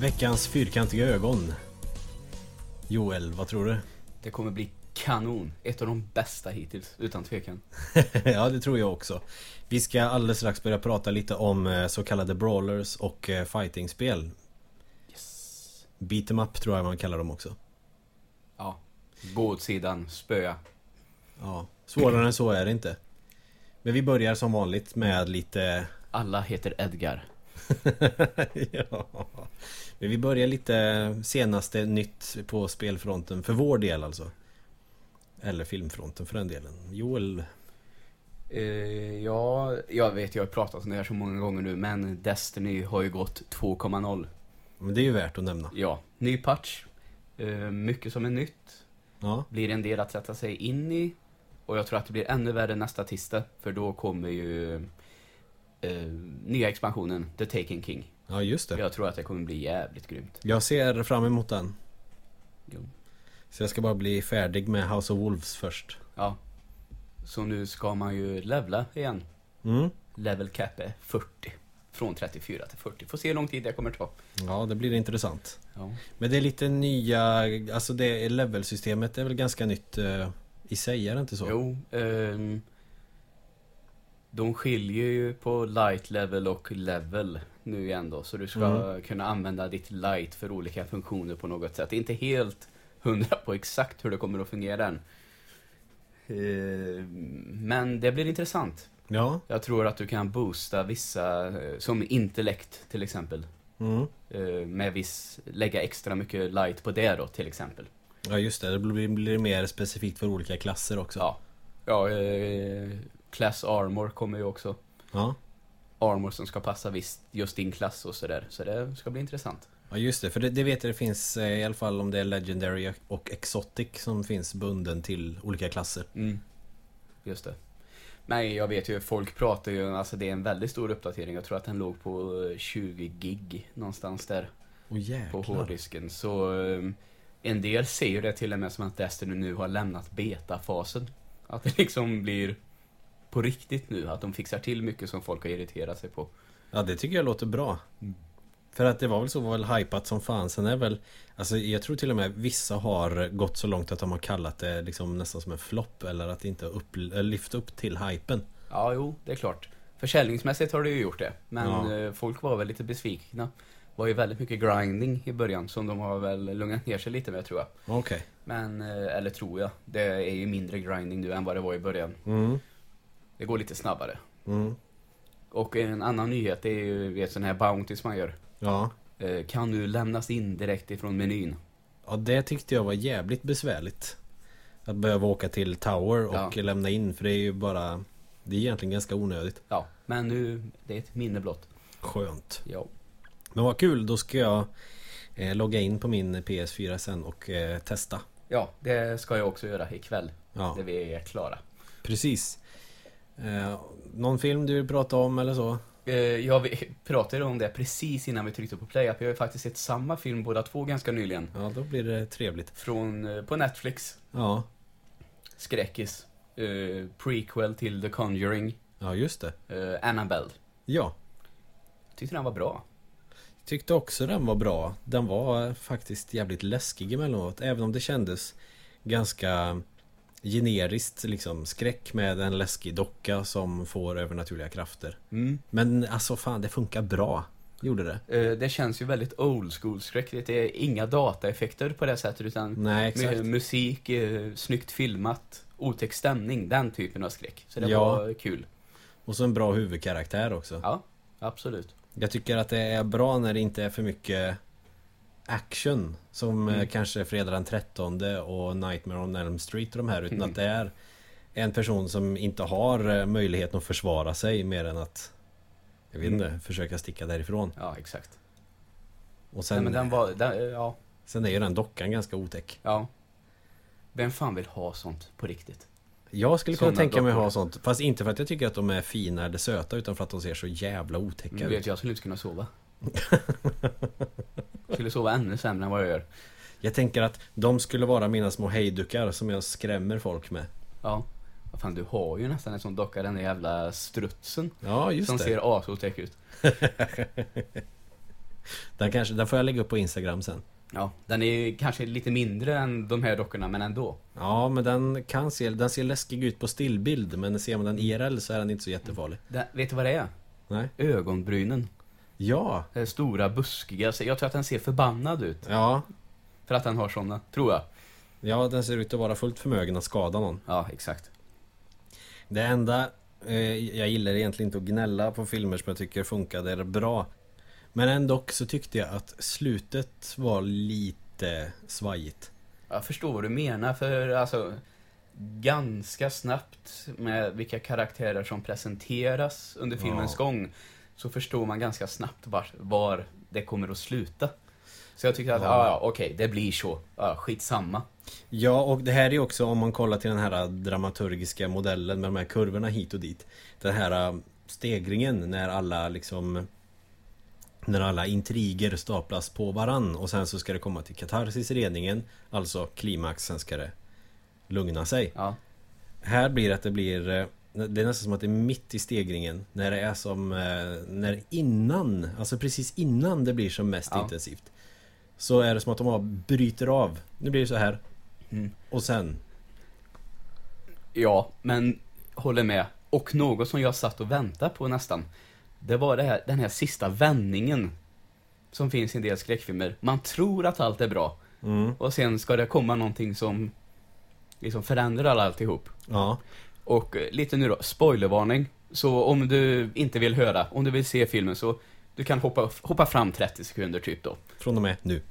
Veckans fyrkantiga ögon. Joel, vad tror du? Det kommer bli kanon. Ett av de bästa hittills, utan tvekan. ja, det tror jag också. Vi ska alldeles strax börja prata lite om eh, så kallade brawlers och eh, fightingspel. Yes. Beat em up tror jag man kallar dem också. Ja. Gå åt sidan, spöa. Ja, svårare än så är det inte. Men vi börjar som vanligt med lite... Alla heter Edgar. ja. Men vi börjar lite senaste nytt på spelfronten, för vår del alltså. Eller filmfronten för den delen. Joel, Eh, ja, jag vet, jag har pratat om det här så många gånger nu, men Destiny har ju gått 2.0. men det är ju värt att nämna. Ja, ny patch. Eh, mycket som är nytt. Ja, Blir en del att sätta sig in i. Och jag tror att det blir ännu värre nästa tisdag, för då kommer ju eh, nya expansionen, The Taken King. ja just det. Jag tror att det kommer bli jävligt grymt. Jag ser fram emot den. Jo. Så jag ska bara bli färdig med House of Wolves först. Ja. Så nu ska man ju levla igen. Mm. Level cap är 40. Från 34 till 40. Får se hur lång tid det kommer ta. Ja, det blir intressant. Ja. Men det är lite nya, alltså det levelsystemet är väl ganska nytt eh, i sig, är det inte så? Jo, ehm, de skiljer ju på light level och level nu igen då. Så du ska Mm. kunna använda ditt light för olika funktioner på något sätt. Det är inte helt hundra på exakt hur det kommer att fungera än. Ehm, Men det blir intressant. Ja. Jag tror att du kan boosta vissa, eh, som intellekt till exempel. Mm. Eh, med viss, lägga extra mycket light på det då till exempel. Ja, just det. Det blir, blir mer specifikt för olika klasser också. Ja. Ja, eh, class armor kommer ju också. Ja. Armor som ska passa visst, just din klass och sådär. Så det ska bli intressant. Ja, just det. För det, det vet jag det finns eh, i alla fall om det är Legendary och Exotic som finns bunden till olika klasser. Just det. Nej, jag vet ju, folk pratar ju, alltså det är en väldigt stor uppdatering. Jag tror att den låg på eh, 20 gig någonstans där. Åh på jäklar. hårddisken. Så eh, en del ser ju det till och med som att Destiny nu har lämnat betafasen. Att det liksom blir på riktigt nu, att de fixar till mycket som folk har irriterat sig på. Ja, det tycker jag låter bra. För att det var väl så var väl hypat som fan. Sen är väl, alltså jag tror till och med vissa har gått så långt att de har kallat det liksom nästan som en flopp eller att inte upp, eller lyft upp till hypen. Ja, jo, det är klart. Försäljningsmässigt har det ju gjort det, men Ja. eh, folk var väl lite besvikna. Det var ju väldigt mycket grinding i början som de har väl lugnat ner sig lite med tror jag. Okej. Men, eh, eller tror jag, det är ju mindre grinding nu än vad det var i början. Mm. Det går lite snabbare. Mm. Och en annan nyhet är ju, vet, sån här bounties man gör. Ja. Eh, kan nu lämnas in direkt ifrån menyn. ja, det tyckte jag var jävligt besvärligt. Att behöva åka till Tower och Ja. lämna in för det är ju bara Det är egentligen ganska onödigt. Ja, men nu, det är ett minne blott. Skönt. Ja. Men vad kul, då ska jag eh, logga in på min PS4 sen och eh, testa. ja, det ska jag också göra ikväll, Ja. när vi är klara. Precis. Eh, någon film du vill prata om eller så? Eh, jag vi- pratade om det precis innan vi tryckte på play, att vi har ju faktiskt sett samma film båda två ganska nyligen. Ja, då blir det trevligt. Från, eh, på Netflix, Ja, skräckis. Eh, prequel till The Conjuring, ja just det. eh, Annabelle. Ja, Tyckte den var bra. tyckte också den var bra. Den var eh, faktiskt jävligt läskig emellanåt. Även om det kändes ganska generiskt liksom. Skräck med en läskig docka som får övernaturliga krafter. Men alltså fan, det funkar bra. Gjorde det? Mm. Eh, det känns ju väldigt old school-skräck. Det är inga dataeffekter på det sättet, utan Nej, exakt. Mu- Musik, eh, snyggt filmat, otäck stämning, den typen av skräck. Så det Ja. var kul. Och så en bra huvudkaraktär också. Ja, absolut. Jag tycker att det är bra när det inte är för mycket action som Mm. eh, kanske Fredag den 13 och Nightmare on Elm Street och de här utan Mm. att det är en person som inte har eh, möjligheten att försvara sig mer än att jag vet Mm. inte, försöka sticka därifrån. Ja, exakt. Och sen, Nej, men den var, den, eh, ja, sen är ju den dockan ganska otäck. ja. Vem fan vill ha sånt på riktigt? Jag skulle kunna Såna tänka mig dockor. ha sånt. Fast inte för att jag tycker att de är fina eller söta utan för att de ser så jävla otäcka Du vet, ut. jag skulle inte kunna sova. Jag skulle sova ännu sämre än vad jag gör. Jag tänker att de skulle vara mina små hejdukar som jag skrämmer folk med. Ja. Vad fan, du har ju nästan en sån docka, den där jävla strutsen. Ja, just som det. ser asotäck ut. Den, kanske, den får jag lägga upp på Instagram sen. Ja, den är kanske lite mindre än de här dockorna, men ändå. Ja, men den kan se, den ser läskig ut på stillbild, men ser man den IRL så är den inte så jättefarlig. Den, vet du vad det är? Nej. Ögonbrynen. Ja, Eh, Stora, buskiga. Så Jag tror att den ser förbannad ut. ja, För att den har såna, tror jag. ja, den ser ut att vara fullt förmögen att skada någon. Ja, exakt. Det enda eh, jag gillar egentligen inte att gnälla på filmer som jag tycker funkade bra. Men ändå så tyckte jag att slutet var lite svajigt. Jag förstår vad du menar, för alltså... Ganska snabbt med vilka karaktärer som presenteras under Ja. filmens gång så förstår man ganska snabbt var, var det kommer att sluta. Så jag tycker att, Ja. ja, ah, ja, okej, det blir så. Ja, skitsamma. Ja, och det här är också om man kollar till den här dramaturgiska modellen med de här kurvorna hit och dit. Den här eh, stegringen när alla liksom när alla intriger staplas på varann och sen så ska det komma till katarsis i redningen, alltså klimax, sen ska det lugna sig. Ja, Här blir det att det blir eh, Det är nästan som att det är mitt i stegringen När det är som eh, När innan Alltså precis innan det blir som mest Ja. intensivt Så är det som att de bara bryter av Nu blir det så här Mm. Och sen Ja, men håller med. Och något som jag satt och väntade på nästan, det var det här, den här sista vändningen som finns i en del skräckfilmer. Man tror att allt är bra mm, och sen ska det komma någonting som liksom förändrar alltihop. Ja Och eh, lite nu då, spoilervarning. Så om du inte vill höra, om du vill se filmen så du kan hoppa, hoppa fram 30 sekunder typ då. Från och med nu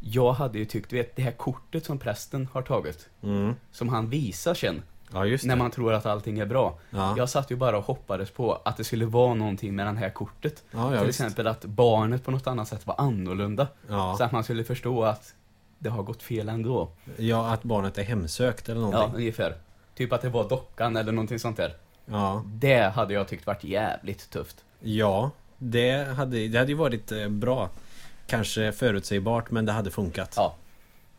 Jag hade ju tyckt, du vet det här kortet som prästen har tagit, mm. som han visar sen, Ja just det när man tror att allting är bra. Ja, ja, Jag satt ju bara och hoppades på att det skulle vara någonting med det här kortet. ja, Till visst. exempel att barnet på något annat sätt var annorlunda. Så ja. att man skulle förstå att det har gått fel ändå. ja, att barnet är hemsökt eller Ja, någonting ungefär. Typ att det var dockan eller någonting sånt där. Ja, Det hade jag tyckt varit jävligt tufft. ja. Det, hade, det hade ju varit eh, bra Kanske förutsägbart men det hade funkat Ja.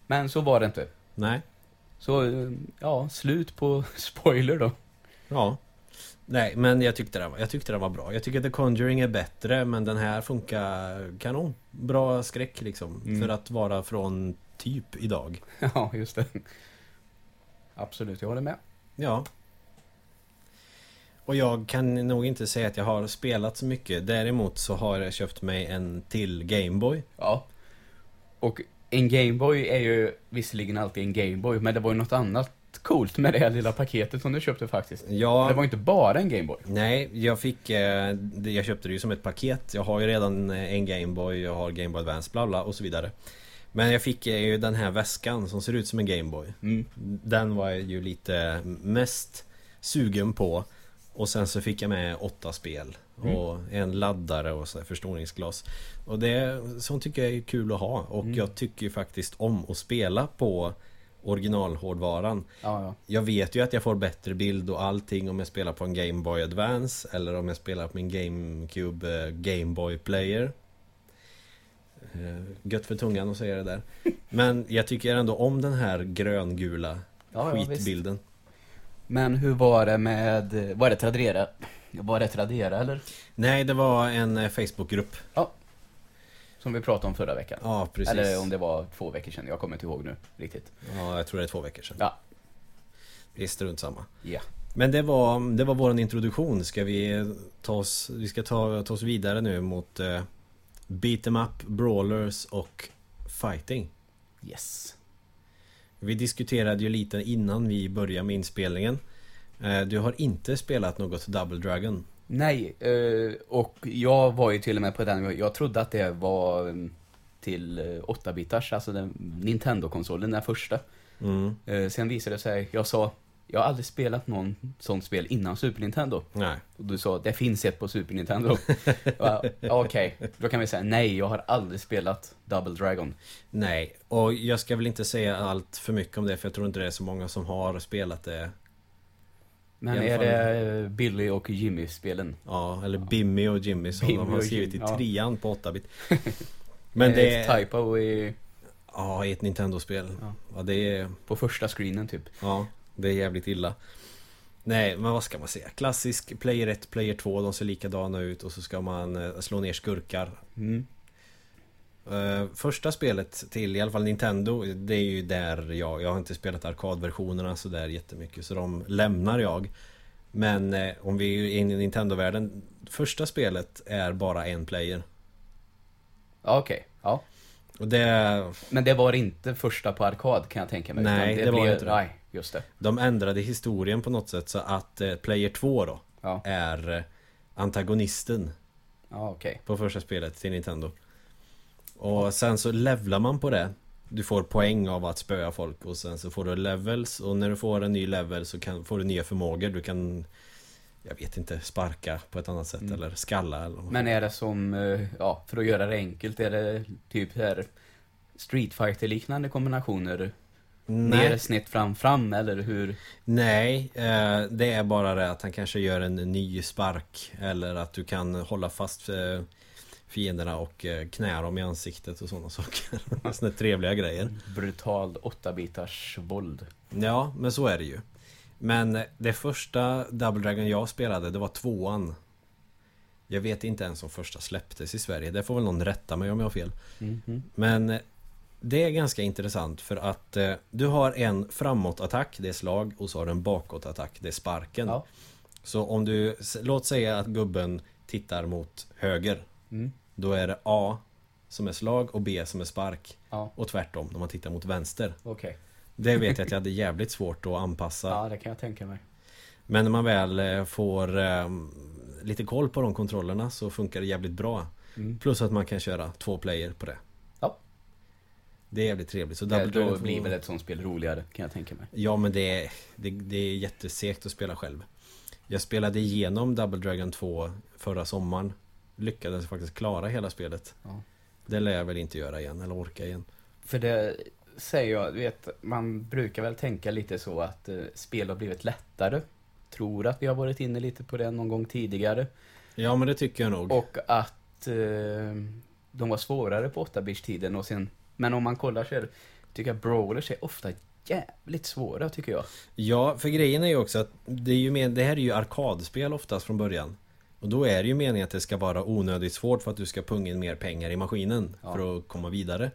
Men så var det inte. Nej Så, eh, ja, slut på spoiler då. Ja. Nej, men jag tyckte, den var, jag tyckte den var bra. Jag tycker The Conjuring är bättre, men den här funkar kanon. Bra skräck liksom. Mm. För att vara från typ idag. Ja, just det. Absolut, jag håller med. Ja. Och jag kan nog inte säga att jag har spelat så mycket. Däremot så har jag köpt mig en till Gameboy. Ja. Och en Gameboy är ju visserligen alltid en Gameboy, men det var ju något annat coolt med det här lilla paketet som du köpte faktiskt. Det var Jag... ju inte bara en Gameboy. Nej, jag fick... eh, det- Jag köpte det ju som ett paket. Jag har ju redan eh, en Gameboy, jag har Gameboy Advance, bla bla och så vidare. Men jag fick eh, ju den här väskan som ser ut som en Gameboy. Mm. Den var jag ju lite mest sugen på Och sen så fick jag med åtta spel Och en laddare och så här förstoringsglas Och det, sånt tycker jag är kul att ha Och jag tycker ju faktiskt om att spela på originalhårdvaran Ja, ja. Jag vet ju att jag får bättre bild och allting om jag spelar på en Game Boy Advance Eller om jag spelar på min GameCube eh, Game Boy Player Eh, Gött för tungan att säga det där Men jag tycker ändå om den här gröngula ja, ja visst. skitbilden. Men hur var det med, var det Tradera? Var det Tradera eller? Nej, det var en eh, Facebookgrupp. Som vi pratade om förra veckan. Ja, precis. Eller om det var två veckor sedan, jag kommer inte ihåg nu riktigt. Ja, jag tror det är två veckor sedan. Ja. Det är strunt samma. Ja. Men det var, det var vår introduktion. Ska vi ta oss, vi ska ta, ta oss vidare nu mot eh, beat em up, brawlers och fighting. Yes. Vi diskuterade ju lite innan vi började med inspelningen. Eh, du har inte spelat något Double Dragon. Nej, eh, och jag var ju till och med på den, jag trodde att det var mm, till eh, 8-bitars, alltså den Nintendo-konsolen, den första. Mm. Eh, sen visade det sig, jag sa, jag har aldrig spelat någon sånt spel innan Super Nintendo. Nej. Och du sa, det finns ett på Super Nintendo. Ja, Okej, då kan vi säga, nej, jag har aldrig spelat Double Dragon. Nej, och jag ska väl inte säga allt för mycket om det för jag tror inte det är så många som har spelat det. Men I alla är fall- det eh, Billy och Jimmy-spelen? Ja, eller Bimmy och Jimmy som Bimmy de har och skrivit Jimmy, i ja. trean på 8-bit. Men det Ett är... typo i, Ja, i ett Nintendo-spel. Ja. Ja, det är... på första screenen typ. Ja, det är jävligt illa. Nej, men vad ska man säga? Klassisk Player 1, Player 2, de ser likadana ut och så ska man eh, slå ner skurkar. Mm. Eh, första spelet till i alla fall Nintendo, det är ju där jag, jag har inte spelat arkadversionerna sådär jättemycket så de lämnar jag. Men eh, om vi är inne i Nintendo-världen, första spelet är bara en player. Ja, okej. Ja. Och det, Men det var inte första på arkad kan jag tänka mig. Nej, utan det var inte det. Nej, just det. de ändrade historien på något sätt så att eh, player 2 då Ja, är eh, antagonisten ja okej. på första spelet till Nintendo. Och sen så levlar man på det. Du får poäng av att spöa folk och sen så får du levels och när du får en ny level så kan, får du nya förmågor. Du kan, jag vet inte, sparka på ett annat sätt Mm. eller skalla eller vad. Men är det som, eh, ja, för att göra det enkelt, är det typ här Street fighter liknande kombinationer? Ner, nej, snett, fram, fram eller hur? nej eh, det är bara det att han kanske gör en ny spark eller att du kan hålla fast eh, fienderna och eh, knä dem i ansiktet och sådana saker. Sådana trevliga grejer. Brutalt 8-bitars våld. Ja, men så är det ju. Men det första Double Dragon jag spelade, det var tvåan. Jag vet inte ens om första släpptes i Sverige. Det får väl någon rätta mig om jag har fel. Mhm. Men eh, det är ganska intressant för att eh, du har en framåtattack, det är slag, och så har du en bakåtattack, det är sparken. Ja. Så om du, s- låt säga att gubben tittar mot höger. Mm. Då är det A som är slag och B som är spark. Ja, Och tvärtom, när man tittar mot vänster. okej. Det vet jag att jag hade jävligt svårt att anpassa. Ja, det kan jag tänka mig. Men när man väl eh, får eh, lite koll på de kontrollerna så funkar det jävligt bra. Mm. Plus att man kan köra två player på det. Ja. Det är jävligt trevligt. Så Det, Double Dragon då får- blir väl ett sånt spel roligare, kan jag tänka mig. Ja men det är, det, det är jättesegt att spela själv. Jag spelade igenom Double Dragon 2 förra sommaren. Lyckades faktiskt klara hela spelet. Ja. Det lär jag väl inte göra igen eller orka igen. För det säger jag, du vet, man brukar väl tänka lite så att eh, spel har blivit lättare. Tror att vi har varit inne lite på det någon gång tidigare. Ja men det tycker jag nog. Och att eh, de var svårare på 8-bitch-tiden och sen... Men om man kollar så är det, tycker jag brawlers är ofta jävligt svåra tycker jag. Ja, för grejen är ju också att det, är ju men, det här är ju arkadspel oftast från början. Och då är det ju meningen att det ska vara onödigt svårt för att du ska punga in mer pengar i maskinen Ja. för att komma vidare.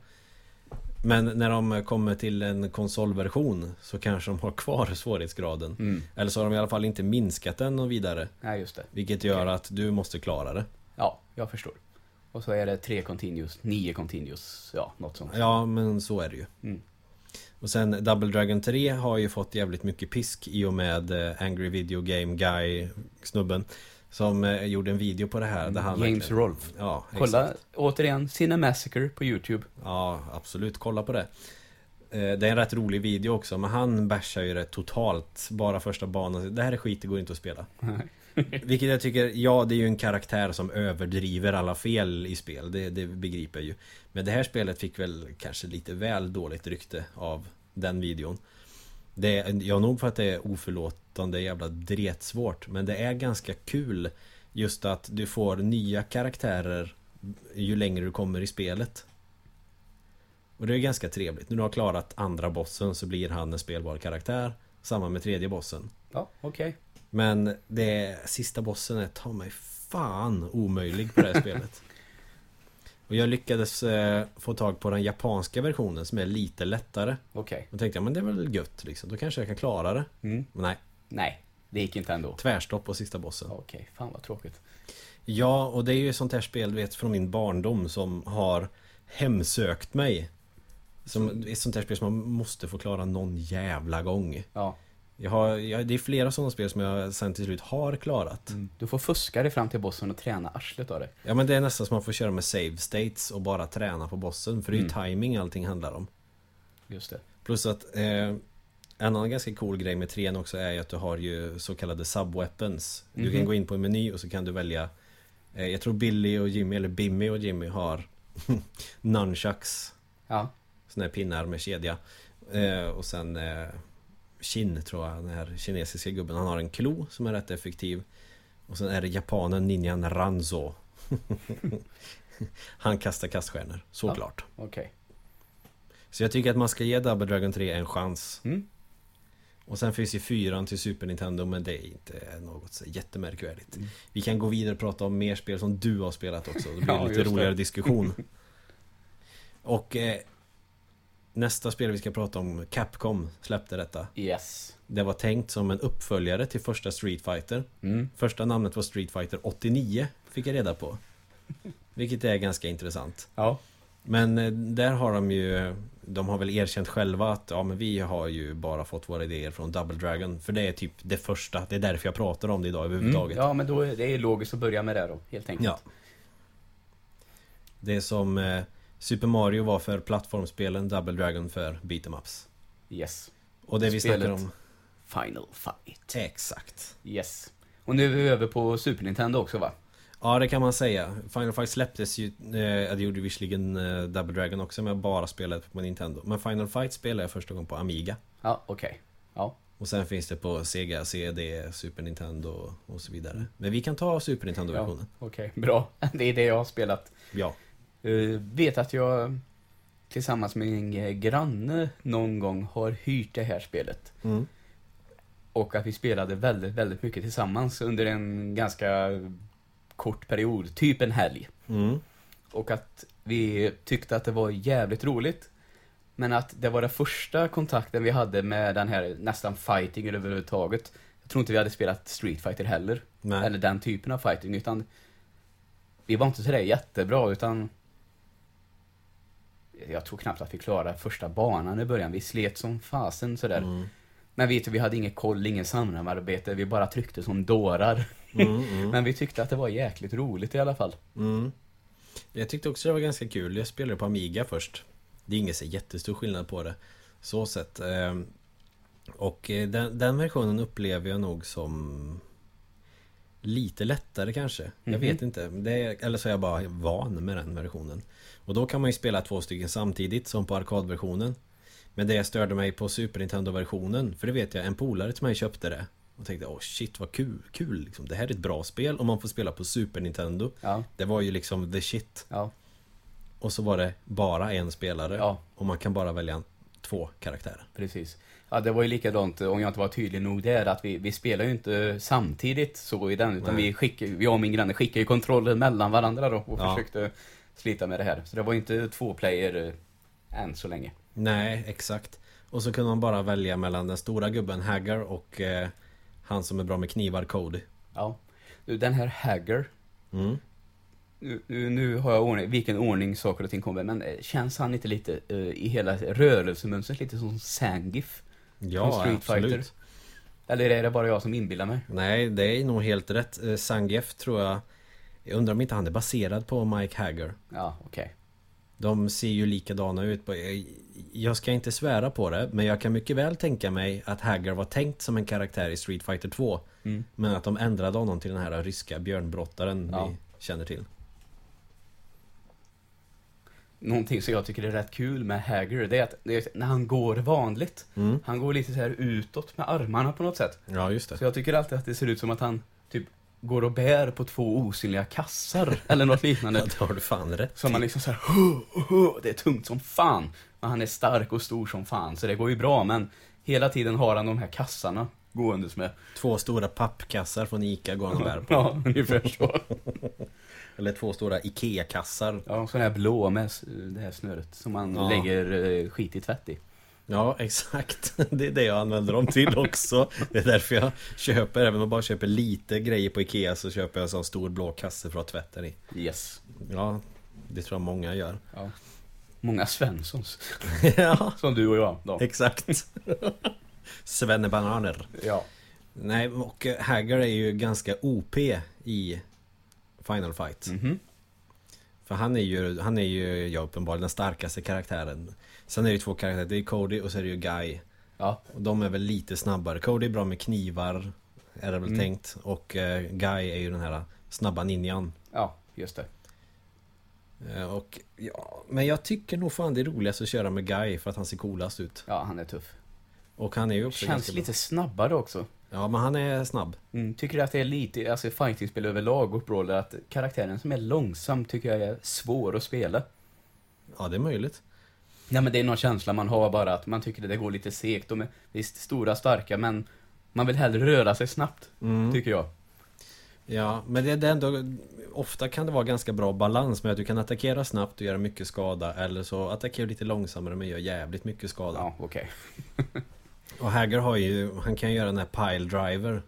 Men när de kommer till en konsolversion så kanske de har kvar svårighetsgraden. Mm. Eller så har de i alla fall inte minskat den och vidare. Nej, just det. Vilket gör Okej. att du måste klara det. Ja, jag förstår. Och så är det tre continuous, nio continuous, ja, något sånt. Ja, men så är det ju. Mm. Och sen Double Dragon 3 har ju fått jävligt mycket pisk i och med eh, Angry Video Game Guy snubben som eh, gjorde en video på det här. Där han James verkligen- Rolfe. Ja, Kolla exakt. återigen, Cinemassacre på YouTube. Ja, absolut. Kolla på det. Eh, Det är en rätt rolig video också, men han bashar ju det totalt. Bara första banan. Det här är skit, det går inte att spela. Vilket jag tycker, ja det är ju en karaktär som överdriver alla fel i spel, det, det begriper jag ju. Men det här spelet fick väl kanske lite väl dåligt rykte av den videon. Det är, ja, nog för att det är oförlåtande jävla dretsvårt, men det är ganska kul just att du får nya karaktärer ju längre du kommer i spelet. Och det är ganska trevligt. När du har klarat andra bossen så blir han en spelbar karaktär. Samma med tredje bossen. Ja, okej. Men det sista bossen är ta mig fan omöjlig på det här spelet. Och jag lyckades eh, få tag på den japanska versionen som är lite lättare. Okej. Då tänkte jag men det är väl gött liksom, då kanske jag kan klara det. Mm. Men nej, Nej, det gick inte ändå. tvärstopp på sista bossen. Okej, fan vad tråkigt. Ja, och det är ju ett sånt här spel du vet från min barndom som har hemsökt mig. Som, ett sånt här spel som man måste få klara någon jävla gång. Ja, Jag har, jag, det är flera sådana spel som jag sen till slut har klarat. du får fuska dig fram till bossen och träna arslet av dig. Ja men det är nästan som att man får köra med save states och bara träna på bossen för det är ju timing allting handlar om. Just det. Plus att eh, en annan ganska cool grej med 3 också är ju att du har ju så kallade subweapons. Du kan Mhm. gå in på en meny och så kan du välja eh, Jag tror Billy och Jimmy, eller Bimmy och Jimmy har Nunchucks Ja, Såna här pinnar med kedja. Eh, och sen eh, Shin tror jag, den här kinesiska gubben. Han har en klo som är rätt effektiv. Och sen är det japanen ninjan Ranzo. han kastar kaststjärnor, såklart. okej. Så jag tycker att man ska ge Double Dragon 3 en chans. Mm. Och sen finns ju fyran till Super Nintendo men det är inte något så jättemärkvärdigt. Mm. Vi kan gå vidare och prata om mer spel som du har spelat också. Det blir Ja, en lite just det. roligare diskussion. Och eh, nästa spel vi ska prata om, Capcom, släppte detta. Yes. Det var tänkt som en uppföljare till första Street Fighter. Mm. Första namnet var Street Fighter 89, fick jag reda på. Vilket är ganska intressant. Ja. Men eh, där har de ju De har väl erkänt själva att ja men vi har ju bara fått våra idéer från Double Dragon För det är typ det första Det är därför jag pratar om det idag överhuvudtaget Ja, men då är det är logiskt att börja med det då, helt enkelt. Ja. Det är som eh, Super Mario var för plattformsspelen Double Dragon för beat 'em ups Yes. Och det vi Spelet. snackar om Final fight. Exakt Yes. Och nu är vi över på Super Nintendo också va? Ja det kan man säga Final Fight släpptes ju eh, Det gjorde visserligen eh, Double Dragon också Men jag bara spelade på Nintendo Men Final Fight spelade jag första gången på Amiga Ja, okej. Ja. Och sen finns det på Sega, CD, Super Nintendo och så vidare. Men vi kan ta Super ja Nintendo-versionen. okej, bra. Det är det jag har spelat. Ja. Eh, vet att jag tillsammans med min eh, granne någon gång har hyrt det här spelet. Mm. Och att vi spelade väldigt, väldigt mycket tillsammans under en ganska kort period, typ en helg. Mm. Och att vi tyckte att det var jävligt roligt. Men att det var den första kontakten vi hade med den här nästan fightingen överhuvudtaget. Jag tror inte vi hade spelat Street Fighter heller Nej. eller den typen av fighting, utan vi var inte sådär jättebra, utan jag tror knappt att vi klarade första banan i början. Vi slet som fasen sådär. Mm. Men vet du, vi hade ingen koll, ingen samarbete, vi bara tryckte som dårar. Mm, mm, Men vi tyckte att det var jäkligt roligt i alla fall. mm. Jag tyckte också det var ganska kul. Jag spelade på Amiga först. Det är ingen så jättestor skillnad på det. Så sett. ehm. Och eh, den, den versionen upplever jag nog som Lite lättare kanske. Jag Mhm. vet inte. Det är, eller så är jag bara van med den versionen. Och då kan man ju spela två stycken samtidigt som på arkadversionen. Men det jag störde mig på Super Nintendo-versionen, för det vet jag, en polare till mig köpte det. Och tänkte åh shit vad kul, kul liksom. Det här är ett bra spel om man får spela på Super Nintendo. Ja, Det var ju liksom the shit. ja, Och så var det bara en spelare. ja, Och man kan bara välja två karaktärer. precis. Ja, det var ju likadant, eh, om jag inte var tydlig nog där, att vi, vi spelar ju inte eh, samtidigt så i den, utan Nej. vi skickar, jag och min granne skickar ju kontroller mellan varandra då och Ja. försökte slita med det här. Så det var ju inte två player eh, än så länge. Nej, exakt. Och så kunde man bara välja mellan den stora gubben Haggar och eh, han som är bra med knivar, Cody. Ja. Nu, Den här Hagger, Mm. nu, nu, nu har jag ordning, vilken ordning saker och ting kommer, men eh, känns han inte lite eh, i hela rörelsemönstret lite som Sangif? Från Ja, Street absolut. Fighter. Eller är det bara jag som inbillar mig? Nej, det är nog helt rätt. Eh, Sangief tror jag... Jag undrar om inte han är baserad på Mike Hagger. Ja, okej. De ser ju likadana ut. på- jag- Jag ska inte svära på det, men jag kan mycket väl tänka mig att Hagger var tänkt som en karaktär i Street Fighter 2. Mm. Men att de ändrade honom till den här ryska björnbrottaren Ja. vi känner till. Någonting som jag tycker är rätt kul med Hagger, det är att det är att när han går vanligt, Mm. han går lite så här utåt med armarna på något sätt. Ja, just det. Så jag tycker alltid att det ser ut som att han typ går och bär på två osynliga kassar eller något liknande. Ja, det har du fan rätt. Så man liksom såhär, huh, huh, det är tungt som fan. Men han är stark och stor som fan, så det går ju bra. Men hela tiden har han de här kassarna gåendes med. Två stora pappkassar från Ica går han och bär på. Ja, ungefär så. Eller två stora Ikea-kassar. Ja, sån här blå med s- det här snöret som man Ja. lägger eh, skit i tvätt i. Ja, exakt. Det är det jag använder dem till också. Det är därför jag köper, även om jag bara köper lite grejer på Ikea så köper jag en sån stor blå kasse för att ha tvätten i. Yes. Ja, det tror jag många gör. Ja. Många Svenssons. ja, Som du och jag. Då. exakt. Svennebananer. Ja. Nej, och Haggar är ju ganska OP i Final Fight. Mhm. För han är ju, han är ju ja, uppenbarligen den starkaste karaktären. Sen är det ju två karaktärer, det är Cody och så är det ju Guy. Ja. Och de är väl lite snabbare. Cody är bra med knivar, är det väl Mm. tänkt. Och eh, Guy är ju den här snabba ninjan. ja, just det. Eh, och, ja, men jag tycker nog fan det är roligast att köra med Guy för att han ser coolast ut. Ja, han är tuff. Och han är ju också Känns ganska bra. lite snabbare också. Ja, men han är snabb. Mm, tycker du att det är lite, alltså i fightingspel överlag och brawler, att karaktären som är långsam tycker jag är svår att spela? Ja, det är möjligt. Nej men det är någon känsla man har bara att man tycker att det går lite segt. De är visst stora, starka, men man vill hellre röra sig snabbt, Mm. tycker jag. Ja, men det, det är ändå... Ofta kan det vara ganska bra balans med att du kan attackera snabbt och göra mycket skada eller så attackerar du lite långsammare men gör jävligt mycket skada. Ja, okej. Och Hagger har ju... Han kan göra den här pile driver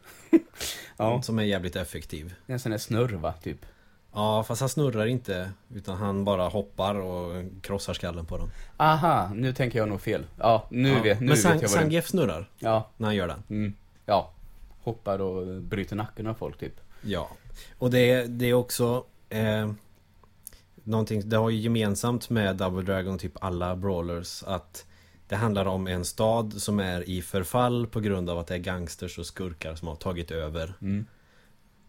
Ja, som är jävligt effektiv. det är en sån där snurr va, typ. Ja, fast han snurrar inte utan han bara hoppar och krossar skallen på dem. Aha, nu tänker jag nog fel. Ja, nu, ja. vet, nu men vet jag Sang, vad det Sangief snurrar Ja, när han gör den. mm, ja. Hoppar och bryter nacken av folk, typ. Ja, och det, är- det är också eh, någonting, det har ju gemensamt med Double Dragon, typ alla brawlers, att det handlar om en stad som är i förfall på grund av att det är gangsters och skurkar som har tagit över. Mm.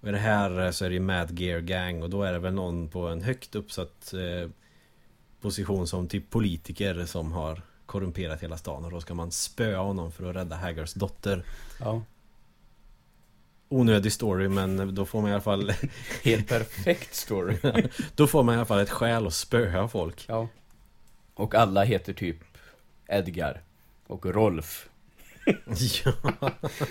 Och i det här eh, så är det ju Mad Gear Gang och då är det väl någon på en högt uppsatt eh, position som typ politiker som har korrumperat hela stan och då ska man spöa honom för att rädda Haggars dotter. Ja. Onödig story men då får man i alla fall Helt perfekt story. Då får man i alla fall ett skäl att spöa folk. Ja. Och alla heter typ Edgar och Rolf. Ja.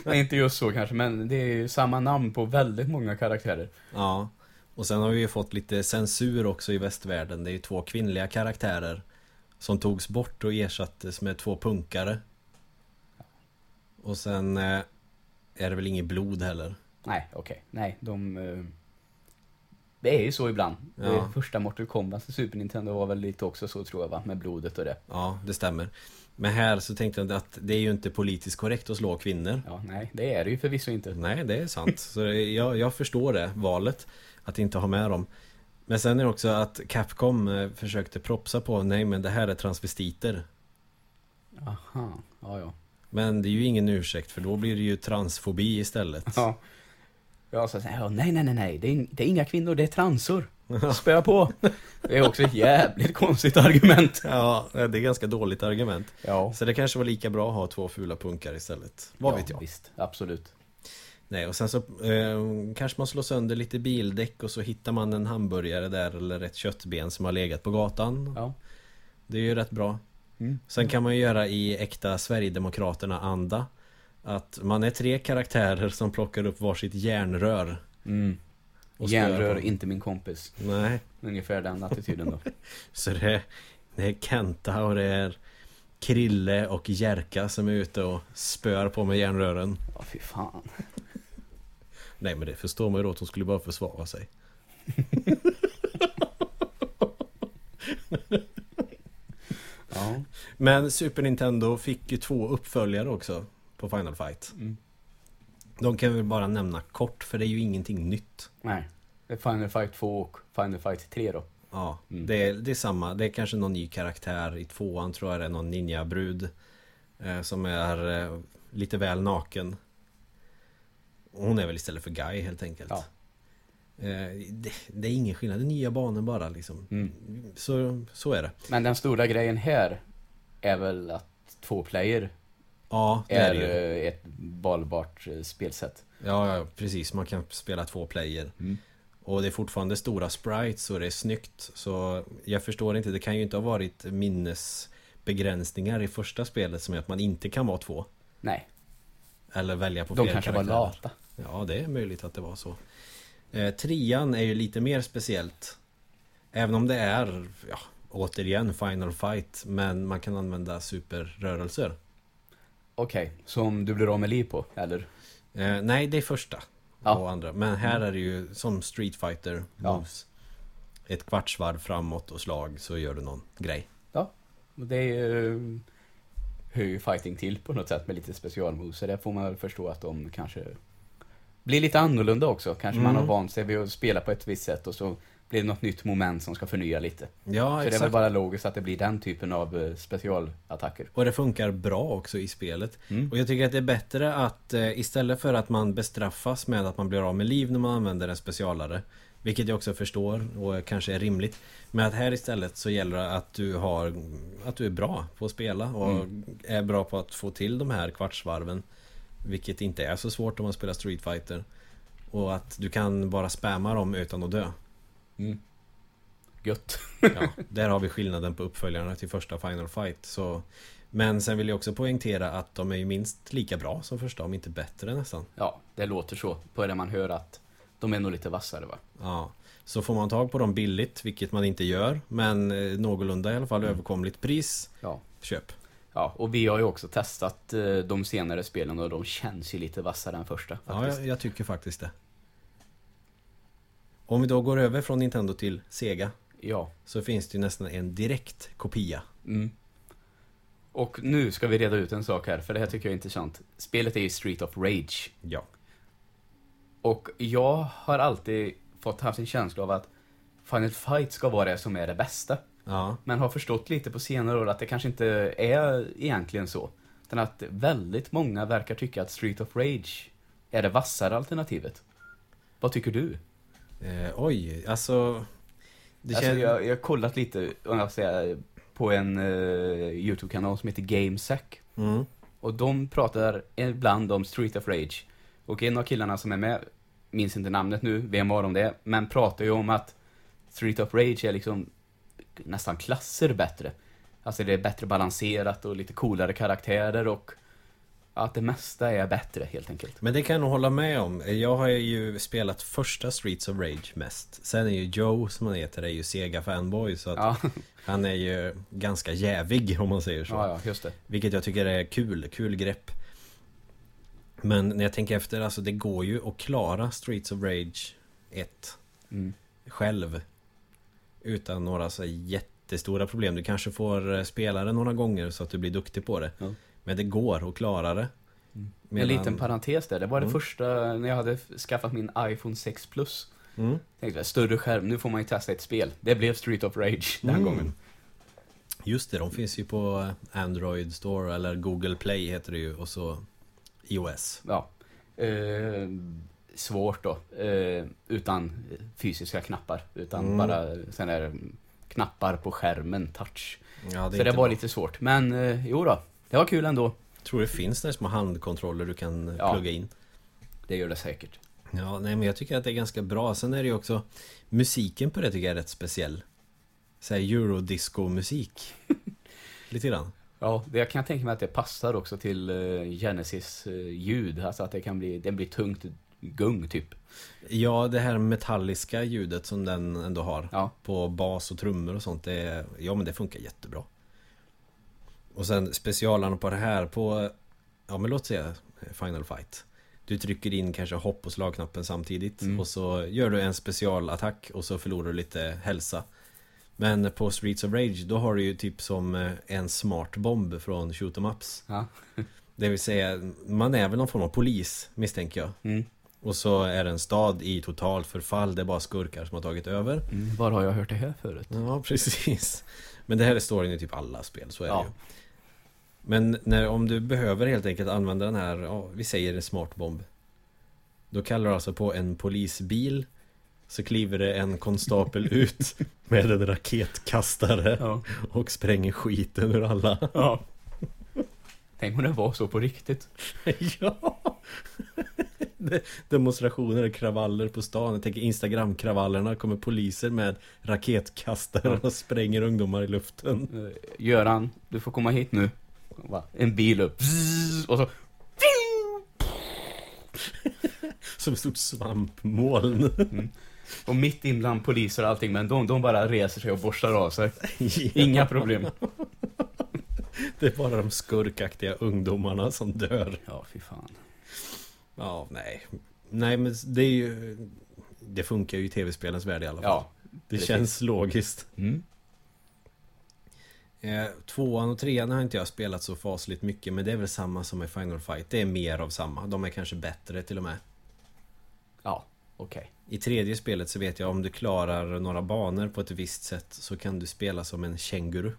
Nej, inte just så kanske, men det är ju samma namn på väldigt många karaktärer. ja. Och sen har vi ju fått lite censur också i västvärlden. Det är ju två kvinnliga karaktärer som togs bort och ersattes med två punkare. Och sen eh, är det väl inget blod heller. Nej, okej. Nej, de... eh, Det är ju så ibland. Ja. Det första Mortal Kombat till Super Nintendo var väl lite också så tror jag va, med blodet och det. Ja, det stämmer. Men här så tänkte jag att det är ju inte politiskt korrekt att slå kvinnor. Ja, nej, det är det ju förvisso inte. Nej, det är sant. Så det- jag, jag förstår det valet. Att inte ha med dem. Men sen är det också att Capcom eh, försökte propsa på nej men det här är transvestiter. Aha, ja ja. Men det är ju ingen ursäkt för då blir det ju transfobi istället. Ja. Ja, så säger jag, nej, nej, nej, nej, det är, in- det är inga kvinnor, det är transor. Spöa på. Det är också ett jävligt konstigt argument. Ja, eh, det är ganska dåligt argument. Ja. Så det kanske var lika bra att ha två fula punkar istället. Vad ja, vet jag? Visst, absolut. Nej, och sen så eh, kanske man slår sönder lite bildäck och så hittar man en hamburgare där eller ett köttben som har legat på gatan. Ja. Det är ju rätt bra. Sen kan man ju göra i äkta Sverigedemokraterna-anda Att man är tre karaktärer som plockar upp varsitt järnrör Mm. och spöar Järnrör, på- inte min kompis. Nej, Ungefär den attityden då. så det är, det är Kenta och det är Krille och Jerka som är ute och spöar på med järnrören Ja, fy fan. Nej men det förstår man ju då att hon skulle bara försvara sig Ja. Men Super Nintendo fick ju två uppföljare också på Final Fight Mm. De kan vi väl bara nämna kort för det är ju ingenting nytt Nej. Det är Final Fight 2 och Final Fight 3 då. Ja, Mm. det, är, det är samma. Det är kanske någon ny karaktär. I tvåan tror jag det är någon ninjabrud. Eh, som är eh, lite väl naken. Hon är väl istället för Guy helt enkelt. Ja. Eh, det, det är ingen skillnad. Det är nya banor bara liksom. Mm. Så, så är det. Men den stora grejen här är väl att två player Ja, det är, är det ju. eh, ett valbart eh, spelsätt. Ja, ja, precis. Man kan spela två player. Mm. Och det är fortfarande stora sprites och det är snyggt. Så jag förstår inte. Det kan ju inte ha varit minnesbegränsningar i första spelet som är att man inte kan vara två. Nej, Eller välja på de fler kanske var karaktärer. lata. Ja, det är möjligt att det var så. Eh, trian är ju lite mer speciellt. Även om det är, ja, återigen Final Fight. Men man kan använda superrörelser. Okej, som du blir av med liv på, eller? Eh, nej, det är första Ja. Mm. och andra. Men här är det ju som Street Fighter Ja. moves. Ett kvartsvarv framåt och slag så gör du någon grej. Och Det är ju... Hör ju fighting till på något sätt med lite specialmoves, så där får man väl förstå att de kanske blir lite annorlunda också. Kanske man Mm. har vant sig vid att spela på ett visst sätt och så blir det något nytt moment som ska förnya lite. Ja, så det är väl exakt. bara logiskt att det blir den typen av eh, specialattacker. Och det funkar bra också i spelet. Mm. Och jag tycker att det är bättre att eh, istället för att man bestraffas med att man blir av med liv när man använder en specialare. Vilket jag också förstår och kanske är rimligt. Men att här istället så gäller det att du har Att du är bra på att spela och är bra på att få till de här kvartsvarven. Vilket inte är så svårt om man spelar Street Fighter. Och att du kan bara spamma dem utan att dö. Gött. Ja, där har vi skillnaden på uppföljarna till första Final Fight. Så... Men sen vill jag också poängtera att de är ju minst lika bra som första, om inte bättre nästan. Ja, det låter så på det man hör att De är nog lite vassare va? Ja. Så får man tag på dem billigt, vilket man inte gör, men eh, någorlunda i alla fall Mm. överkomligt pris, Ja. köp. Ja, och vi har ju också testat eh, de senare spelen och de känns ju lite vassare än första. Ja, Faktiskt. jag, jag tycker faktiskt det. Om vi då går över från Nintendo till Sega ja. så finns det ju nästan en direkt kopia. Mm. Och nu ska vi reda ut en sak här, för det här tycker jag är intressant. Spelet är ju Street of Rage. Ja. Och jag har alltid fått haft en känsla av att Final Fight ska vara det som är det bästa. Ja, Men har förstått lite på senare år att det kanske inte är egentligen så. Utan att väldigt många verkar tycka att Street of Rage är det vassare alternativet. Vad tycker du? eh, oj, alltså... Det alltså, känns... jag, jag har kollat lite om jag säger, på en eh, YouTube-kanal som heter GameSack. mm, Och de pratar ibland om Street of Rage. Och en av killarna som är med, minns inte namnet nu, vem var de det är, men pratar ju om att Street of Rage är liksom nästan klasser bättre. Alltså det är bättre balanserat och lite coolare karaktärer och att det mesta är bättre helt enkelt. men det kan jag nog hålla med om. Jag har ju spelat första Streets of Rage mest. Sen är ju Joe, som han heter, är ju Sega-fanboy så att Ja, han är ju ganska jävig om man säger så. ja, ja just det. Vilket jag tycker är kul, kul grepp. Men när jag tänker efter, alltså det går ju att klara Streets of Rage 1 Mm. själv. Utan några så här jättestora problem. Du kanske får eh, spela det några gånger så att du blir duktig på det. Ja. Mm. Men det går att klara det. En liten parentes där, det var det Mm. första när jag hade skaffat min iPhone 6 Plus. Mm. Tänkte jag, större skärm, nu får man ju testa ett spel. Det blev Street of Rage den Mm. gången. Just det, de finns ju på Android Store eller Google Play heter det ju och så iOS. ja, eh, svårt då. Eh, utan fysiska knappar. Utan Mm. bara sen är det knappar på skärmen, touch. Ja, så inte det var bra. lite svårt. Men eh, jo då, det var kul ändå. Tror det finns där små handkontroller du kan eh, Ja. plugga in. Det gör det säkert. Ja, nej men jag tycker att det är ganska bra. Sen är det ju också musiken på det tycker jag är rätt speciell. Såhär eurodisco-musik. Lite grann. Ja, det, jag kan tänka mig att det passar också till eh, Genesis eh, ljud. Alltså att det kan bli, det blir tungt gung typ. Ja, det här metalliska ljudet som den ändå har Ja, på bas och trummor och sånt. Det, ja, men det funkar jättebra. Och sen specialarna på det här på, ja men låt säga Final Fight. Du trycker in kanske hopp och slagknappen samtidigt Mm. och så gör du en specialattack och så förlorar du lite hälsa. Men på Streets of Rage då har du ju typ som eh, en smart bomb från Shoot 'em Ups. ja. Det vill säga, man är väl någon form av polis misstänker jag. Mm. Och så är det en stad i total förfall, det är bara skurkar som har tagit över. Mm. Var har jag hört det här förut? Ja, precis. Men det här är storyn i typ alla spel, så är Ja. det ju. Men när, om du behöver helt enkelt använda den här, ja, vi säger en smartbomb. Då kallar du alltså på en polisbil. Så kliver det en konstapel ut med en raketkastare Ja. och spränger skiten ur alla. ja. Tänk om det var så på riktigt. ja! Det- Demonstrationer och kravaller på stan. Jag tänker Instagram-kravallerna kommer poliser med raketkastare och spränger ungdomar i luften. Eh, Göran, du får komma hit nu. Och bara, En bil upp. Bzzz, Och så... Som ett stort svampmoln. Och mitt inbland poliser och allting, men de, de bara reser sig och borstar av sig. Inga problem. Det är bara de skurkaktiga ungdomarna som dör. Ja, fy fan. Ja, nej. Nej, men det är ju... Det funkar ju i tv-spelens värld i alla fall. Ja. det precis. känns logiskt. Mm. Eh, tvåan och trean har inte jag spelat så fasligt mycket, men det är väl samma som i Final Fight. Det är mer av samma. De är kanske bättre till och med. Ja, okej. I tredje spelet så vet jag om du klarar några banor på ett visst sätt så kan du spela som en känguru.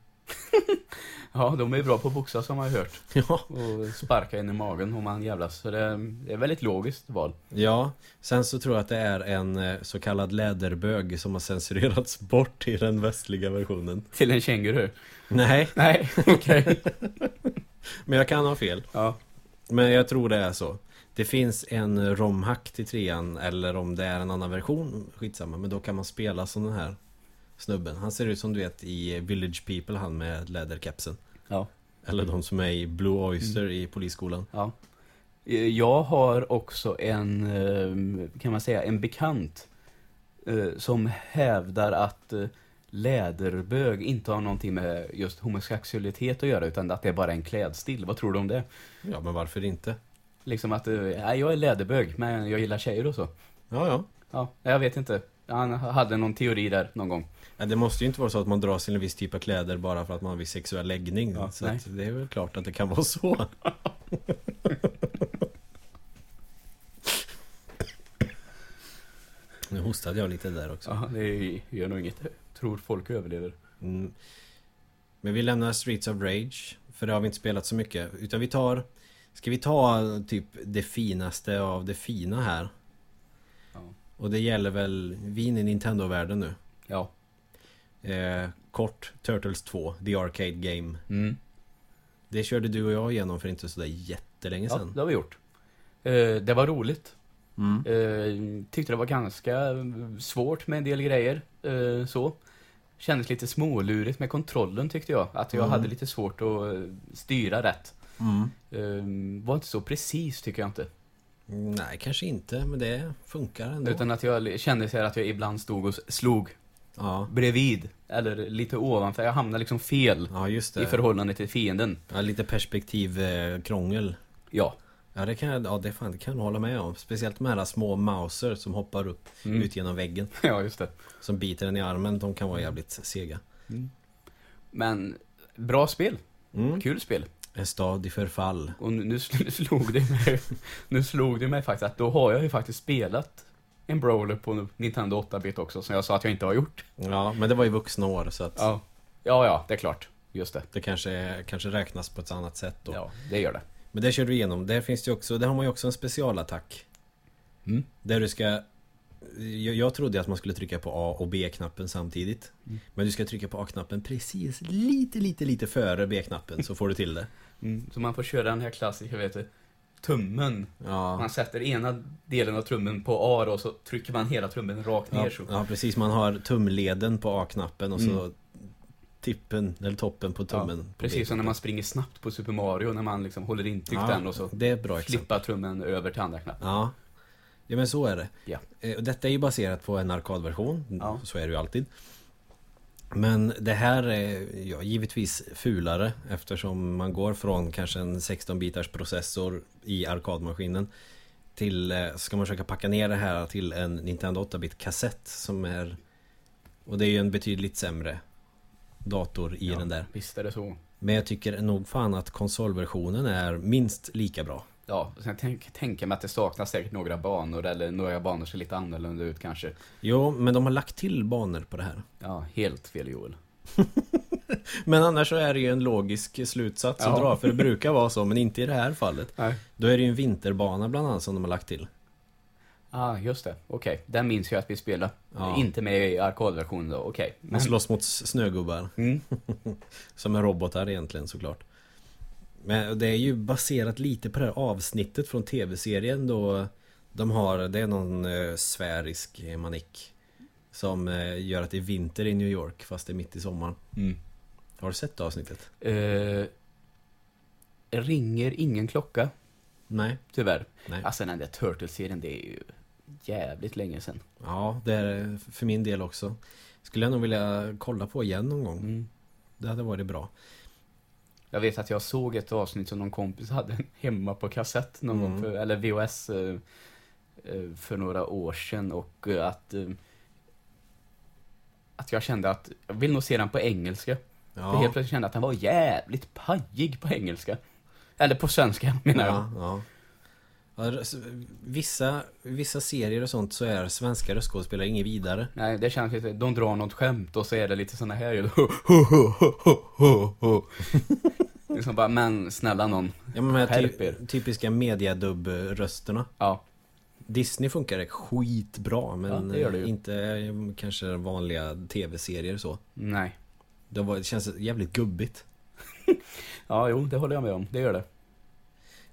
Ja, de är bra på att boxas har man ju hört. Ja, Och sparka in i magen om man jävlas. Så det, det är väldigt logiskt val. Ja, sen så tror jag att det är en eh, så kallad läderbög som har censurerats bort i den västliga versionen. Till en känguru. Nej, Nej, okej. men jag kan ha fel. Ja. Men jag tror det är så. Det finns en romhack till trean eller om det är en annan version, skitsamma. Men då kan man spela som den här snubben. Han ser ut som du vet i Village People, han med läderkepsen. Ja. Eller de som är i Blue Oyster i polisskolan. ja. Eh, Jag har också en, eh, kan man säga, en bekant eh, som hävdar att eh, läderbög inte har någonting med just homosexualitet att göra utan att det är bara en klädstil. Vad tror du om det? Ja, men varför inte? Liksom att, eh, nej jag är läderbög men jag gillar tjejer och så. Ja, ja. Ja, jag vet inte. Han hade någon teori där någon gång. Ja, Det måste ju inte vara så att man dras till en viss typ av kläder bara för att man har en viss sexuell läggning. Ja, så nej. att det är väl klart att det kan vara så. nu hostade jag lite där också. Ja, det gör nog inget. Tror folk överlever. Mm. Men vi lämnar Streets of Rage. För det har vi inte spelat så mycket. Utan vi tar... Ska vi ta typ det finaste av det fina här? Ja. Och det gäller väl... Vi är inne i Nintendo-världen nu. Ja. Eh, kort, Turtles 2, The Arcade Game. Mm. Det körde du och jag igenom för inte sådär jättelänge Ja, sedan. det har vi gjort. Eh, Det var roligt. Mm. Eh, Tyckte det var ganska svårt med en del grejer. eh, Så. Kändes lite smålurigt med kontrollen tyckte jag. Att jag Mm. hade lite svårt att eh, styra rätt. Mm. Eh, Var inte så precis tycker jag inte. Mm, Nej, kanske inte, men det funkar ändå. Utan att jag kände så här att jag ibland stod och slog Ja. bredvid. Eller lite ovanför. Jag hamnade liksom fel ja, just i det. förhållande till fienden. Ja, lite perspektivkrångel. Ja. Ja, det kan jag, ja, det fan, det kan jag hålla med om. Speciellt de här små mauser som hoppar upp Mm. ut genom väggen. ja, just det. Som biter en i armen. De kan vara jävligt sega. Men bra spel. Mm. Kul spel. En stad i förfall. Och nu, nu sl- slog det mig, nu slog det mig faktiskt att då har jag ju faktiskt spelat en Brawler på Nintendo 8-bit också som jag sa att jag inte har gjort. Ja, men det var i vuxna år så att Ja, ja, ja det är klart. Just det. det kanske, kanske räknas på ett annat sätt då. Ja, det gör det. Men det kör du igenom. Där finns det ju också, där har man ju också en specialattack. Mm. Där du ska... Jag, jag trodde att man skulle trycka på A och B-knappen samtidigt. Mm. Men du ska trycka på A-knappen precis lite, lite, lite före B-knappen så får du till det. Mm. Så man får köra den här klassiska, vet du, tummen. Ja, Man sätter ena delen av trummen på A och så trycker man hela trummen rakt ner ja, så. Mm. ja precis. Man har tumleden på A-knappen och så tippen, eller toppen på tummen. Ja, på precis som när B-knappen. man springer snabbt på Super Mario när man liksom håller intryckt Ja, den och så Det är ett bra exempel. flippar trummen över till andra knappen. Ja. ja, men så är det. Ja. Eh, Och detta är ju baserat på en arkadversion. Ja. Så är det ju alltid. Men det här är ja, givetvis fulare eftersom man går från kanske en 16-bitars processor i arkadmaskinen till, eh, så ska man försöka packa ner det här till en Nintendo 8-bit kassett som är och det är ju en betydligt sämre dator i Ja, den där. Visst är det så. Men jag tycker nog fan att konsolversionen är minst lika bra. Ja, och sen tänk, tänker mig att det saknas säkert några banor eller några banor ser lite annorlunda ut kanske. Jo, men de har lagt till banor på det här. Ja, helt fel Joel. Men annars så är det ju en logisk slutsats att Ja. dra för det brukar vara så men inte i det här fallet. Nej. Då är det ju en vinterbana bland annat som de har lagt till. ah, just det. Okej, den minns jag att vi spelade. Ja. Inte med i arkadversionen då, okej. Man slåss mot s- snögubbar Mm. som är robotar egentligen såklart. Men det är ju baserat lite på det här avsnittet från tv-serien då de har, det är någon eh, sfärisk eh, manick som eh, gör att det är vinter i New York fast det är mitt i sommaren. Mm. Har du sett det avsnittet? Eh, ringer ingen klocka, Nej. tyvärr. Nej. Alltså den där Turtles-serien, det är ju jävligt länge sedan. Ja, det är det för min del också. Skulle jag nog vilja kolla på igen någon gång. Mm. Det hade varit bra. Jag vet att jag såg ett avsnitt som någon kompis hade hemma på kassett någon Mm. gång, för, eller VHS, eh, eh, för några år sedan och eh, att eh, att jag kände att jag vill nog se den på engelska. För Ja, helt plötsligt kände jag att den var jävligt pajig på engelska. Eller på svenska menar jag. ja, ja. Ja, s- Vissa, vissa serier och sånt så är svenska röstskådespelare inget vidare. Nej, det känns lite, de drar något skämt och så är det lite såna här ljud. liksom bara, men snälla någon. Ja, men de här Skärp er. ty- typiska mediadubb-rösterna. Ja, Disney funkar det skitbra Ja, men det gör det ju. inte eh, kanske vanliga tv-serier så. nej. Det, var, det känns jävligt gubbigt. Ja, jo, det håller jag med om. Det gör det.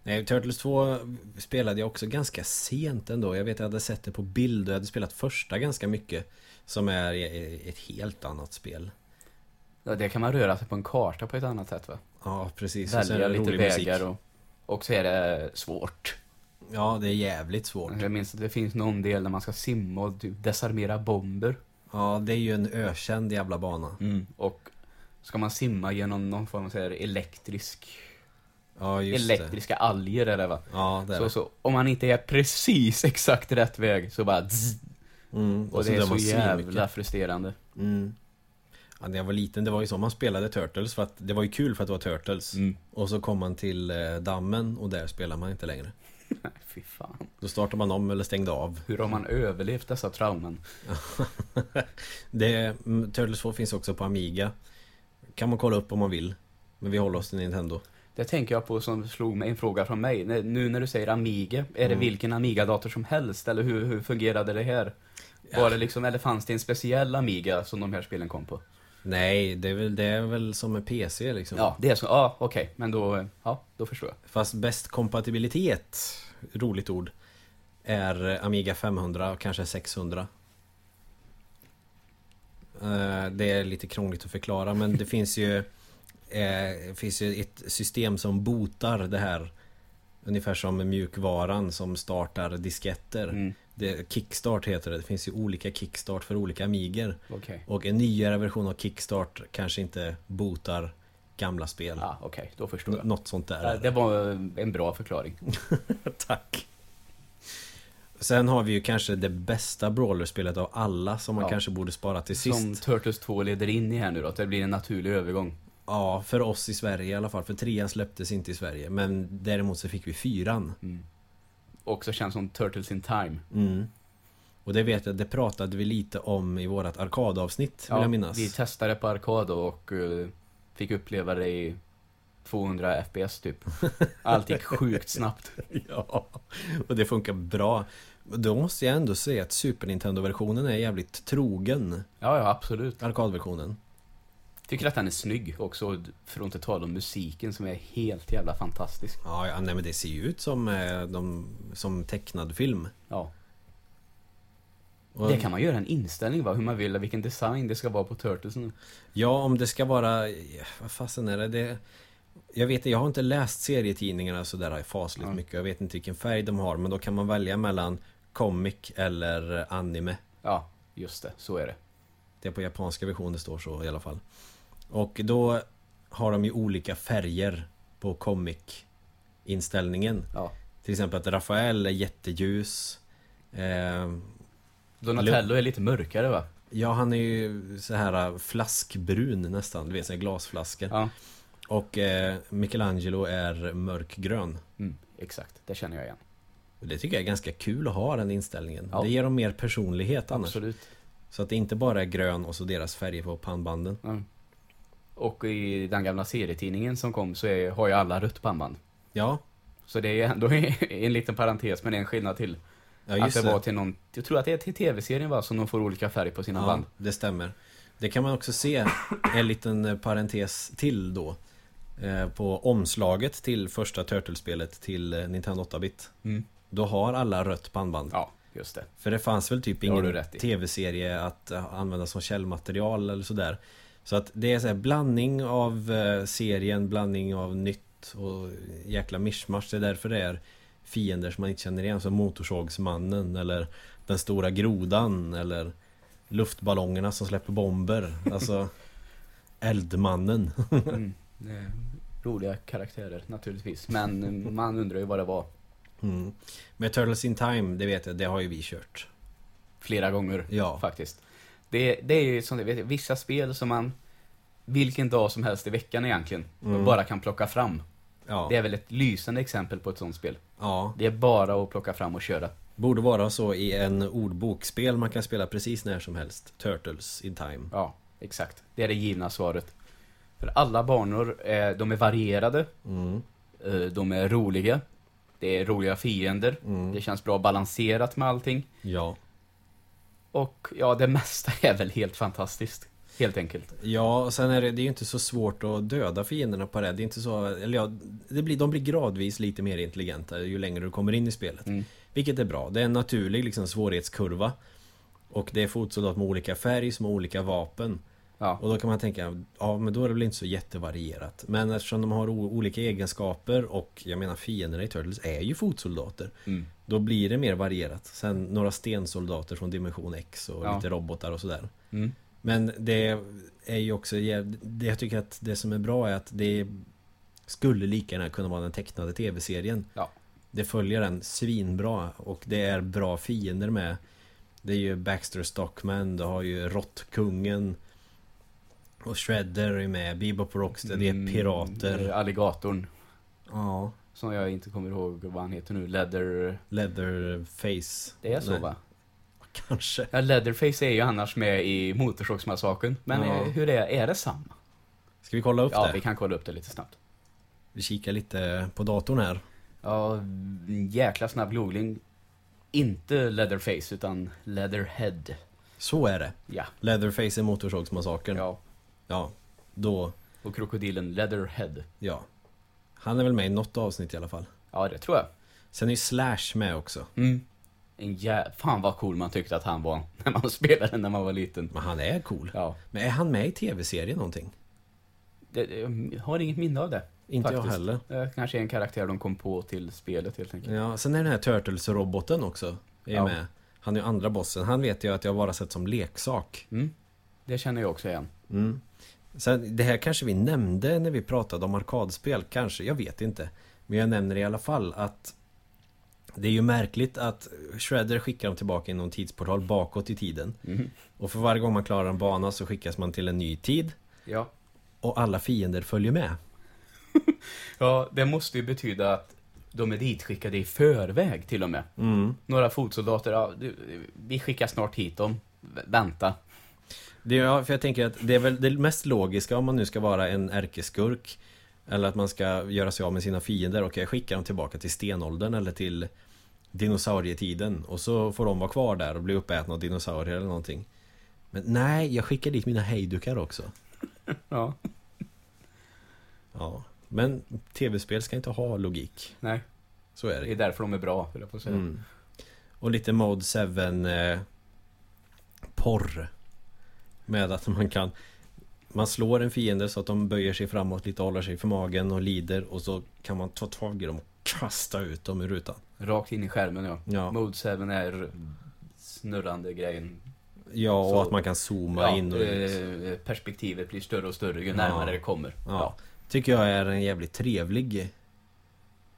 Nej, Turtles 2 spelade jag också ganska sent ändå. Jag vet att jag hade sett det på bild och jag hade spelat första ganska mycket. Som är e- ett helt annat spel. Ja, det kan man röra sig på en karta på ett annat sätt va? Ja, precis. Och så är Välja det lite rolig musik. vägar och, och så är det svårt. Ja, det är jävligt svårt. Jag minns att det finns någon del där man ska simma och typ desarmera bomber. Ja, det är ju en ökänd jävla bana. Och ska man simma genom någon form av så här elektrisk, Ja, just det. elektriska alger eller va? Ja, det är Så, det. så, om man inte är precis exakt rätt väg så bara zzz, Mm, Och sen det är dör så man svinmycket. jävla frustrerande. Mm. Ja, när jag var liten, det var ju så man spelade Turtles för att det var ju kul för att det var Turtles. Mm. Och så kom man till eh, dammen och där spelar man inte längre. Nej, fy fan. Då startade man om eller stängde av. Hur har man överlevt dessa trauman? det, mm, Turtles 2 finns också på Amiga. Kan man kolla upp om man vill. Men vi håller oss till Nintendo. Det tänker jag på som slog mig en fråga från mig. Nej, Nu när du säger Amiga, är det Mm. vilken Amiga-dator som helst? Eller hur, hur fungerade det här? Var det liksom, eller fanns det en speciell Amiga som de här spelen kom på? Nej, det är väl, det är väl som en PC liksom. Ja, det är så. Ja, okej. Men då, eh, ja, då förstår jag. Fast bäst kompatibilitet, roligt ord, är eh, Amiga 500 och kanske 600. Eh, Det är lite krångligt att förklara men det finns ju eh, finns ju ett system som botar det här Ungefär som mjukvaran som startar disketter. Mm. Det, kickstart heter det. Det finns ju olika kickstart för olika Amiger. Okej. Och en nyare version av kickstart kanske inte botar gamla spel. Ja, okej. Då förstår N- jag. något sånt där. är Ja, Det var eh, en bra förklaring. Tack. Sen har vi ju kanske det bästa brawlerspelet av alla som man Ja. kanske borde spara till sist. Som Turtles 2 leder in i här nu då, att det blir en naturlig övergång. Ja, för oss i Sverige i alla fall. För trean släpptes inte i Sverige. Men däremot så fick vi fyran. Mm. Också känns som Turtles in Time. Mm. Och det vet jag, det pratade vi lite om i vårat arkadavsnitt vill jag minnas. Vi testade på arkad och eh, fick uppleva det i 200 FPS typ. Allt gick sjukt snabbt. ja, och det funkar bra. Då måste jag ändå säga att Super Nintendo-versionen är jävligt trogen. Ja, ja, absolut. Arkadversionen. Tycker att den är snygg också, för att inte tala om musiken som är helt jävla fantastisk. Ja, ja nej, men det ser ju ut som, eh, de, som tecknad film. Ja. Och- Det kan man göra en inställning va, hur man vill, vilken design det ska vara på Turtles nu. Ja, om det ska vara... ja, Vad fasen är det? det jag vet inte, jag har inte läst serietidningarna sådär fasligt Ja. mycket. Jag vet inte vilken färg de har, men då kan man välja mellan comic eller anime. Ja, just det, så är det. Det är på japanska versionen det står så i alla fall. Och då har de ju olika färger på comic-inställningen. Ja. Till exempel att Rafael är jätteljus. Eh, Donatello är lite mörkare va? ja, han är ju så här flaskbrun nästan. Du vet, så här glasflaskor. Ja, Och eh, Michelangelo är mörkgrön. mm, exakt. Det känner jag igen. Och Det tycker jag är ganska kul att ha den inställningen. Ja. Det ger dem mer personlighet annars. Absolut. Så att det inte bara är grön och så deras färger på pannbanden. Mm. Och i den gamla serietidningen som kom så är, har ju alla rött pannband. Ja, Så det är ändå en liten parentes, men det är en skillnad till. ja att just det det. var till någon, jag tror att det är till tv-serien va, som de får olika färg på sina ja, band. det stämmer. Det kan man också se, en liten eh, parentes till då. Eh, på omslaget till första Turtlespelet till eh, Nintendo 8-bit. Då har alla rött pannband. Ja, just det. För det fanns väl typ Det har du ingen rätt i. tv-serie att eh, använda som källmaterial eller sådär. Så att det är så här blandning av eh, serien, blandning av nytt och jäkla mischmasch. Det är därför det är fiender som man inte känner igen. Som Motorsågsmannen eller Den stora grodan eller Luftballongerna som släpper bomber. Alltså Eldmannen. Mm. Det är Roliga karaktärer naturligtvis, men man undrar ju vad det var Mm. Med Turtles in Time, det vet jag, det har ju vi kört. flera gånger Ja. faktiskt. Det, det är ju som du vet, vissa spel som man vilken dag som helst i veckan egentligen Mm. bara kan plocka fram. Ja. Det är väl ett lysande exempel på ett sånt spel. ja. Det är bara att plocka fram och köra. Borde vara så i en ordbokspel man kan spela precis när som helst. Turtles in time. Ja, exakt. Det är det givna svaret. För alla banor, eh, de är varierade, Mm, eh, de är roliga, det är roliga fiender, mm, det känns bra balanserat med allting. ja. Och ja, det mesta är väl helt fantastiskt. Helt enkelt. Ja, och sen är det, det är ju inte så svårt att döda fienderna på det. Det är inte så, eller ja, det blir, de blir gradvis lite mer intelligenta ju längre du kommer in i spelet. Mm. Vilket är bra. Det är en naturlig liksom, svårighetskurva. Och det är fotsoldat med olika färg som har olika vapen. Ja. Och då kan man tänka, ja men då är det väl inte så jättevarierat. Men eftersom de har o- olika egenskaper och jag menar fienderna i Turtles är ju fotsoldater. Mm. Då blir det mer varierat. Sen några stensoldater från dimension X och Ja. lite robotar och sådär. Mm. Men det är ju också, jäv- det jag tycker att det som är bra är att det skulle lika gärna kunna vara den tecknade tv-serien. Ja. Det följer den svinbra och det är bra fiender med. Det är ju Baxter Stockman, du har ju Råttkungen och Shredder är med, Bebop och Rocksteady det är pirater. Mm, Alligatorn. Ja, Som jag inte kommer ihåg vad han heter nu. Leather... Leatherface. Det är så Nej, va? Kanske. Ja, Leatherface är ju annars med i Motorsågsmassakern. Men Ja. eh, hur är är det samma? Ska vi kolla upp Ja, det? vi kan kolla upp det lite snabbt. Vi kikar lite på datorn här. Ja, en jäkla snabb googling. Inte Leatherface utan Leatherhead. Så är det. Ja. Leatherface är Motorsågsmassakern. ja. Ja, då, Och krokodilen Leatherhead. ja. Han är väl med i något avsnitt i alla fall. Ja, det tror jag. Sen är ju Slash med också. Mm. En jä... Fan vad cool man tyckte att han var när man spelade när man var liten. Men han är cool. Ja. Men är han med i tv-serien någonting? Det, det- mm, jag har inget minne av det. Inte jag Faktiskt. heller. Eh, kanske en karaktär de kom på till spelet helt enkelt. Ja, sen är den här Turtles-roboten också är Ja. med. Han är ju andra bossen. Han vet jag att jag bara sett som leksak. Mm. Det känner jag också igen. Mm. Sen, det här kanske vi nämnde när vi pratade om arkadspel, kanske, jag vet inte. Men jag nämner i alla fall att det är ju märkligt att Shredder skickar dem tillbaka i någon tidsportal bakåt i tiden. Mhm. Och för varje gång man klarar en bana så skickas man till en ny tid Ja. och alla fiender följer med. ja, det måste ju betyda att de är ditskickade i förväg till och med. Mm. Några fotsoldater, ja, du, vi skickar snart hit dem. Vä- Vänta. Det, ja, för jag tänker att det är väl det mest logiska om man nu ska vara en ärkeskurk eller att man ska göra sig av med sina fiender och jag skickar dem tillbaka till stenåldern eller till dinosaurietiden och så får de vara kvar där och bli uppätna av dinosaurier eller någonting. Men nej, jag skickar dit mina hejdukar också. Ja, Ja, men tv-spel ska inte ha logik. nej. Så är det. Det är därför de är bra, höll jag på att säga. Mm. Och lite Mode 7 eh, porr. Med att man kan man slår en fiende så att de böjer sig framåt lite, håller sig för magen och lider och så kan man ta tag i dem och kasta ut dem ur rutan. Rakt in i skärmen ja. Ja, Mode 7 är snurrande grejen. ja och Så- att man kan zooma Ja, in och ut. eh, perspektivet blir större och större ju Ja. närmare det kommer. Ja. Tycker jag är en jävligt trevlig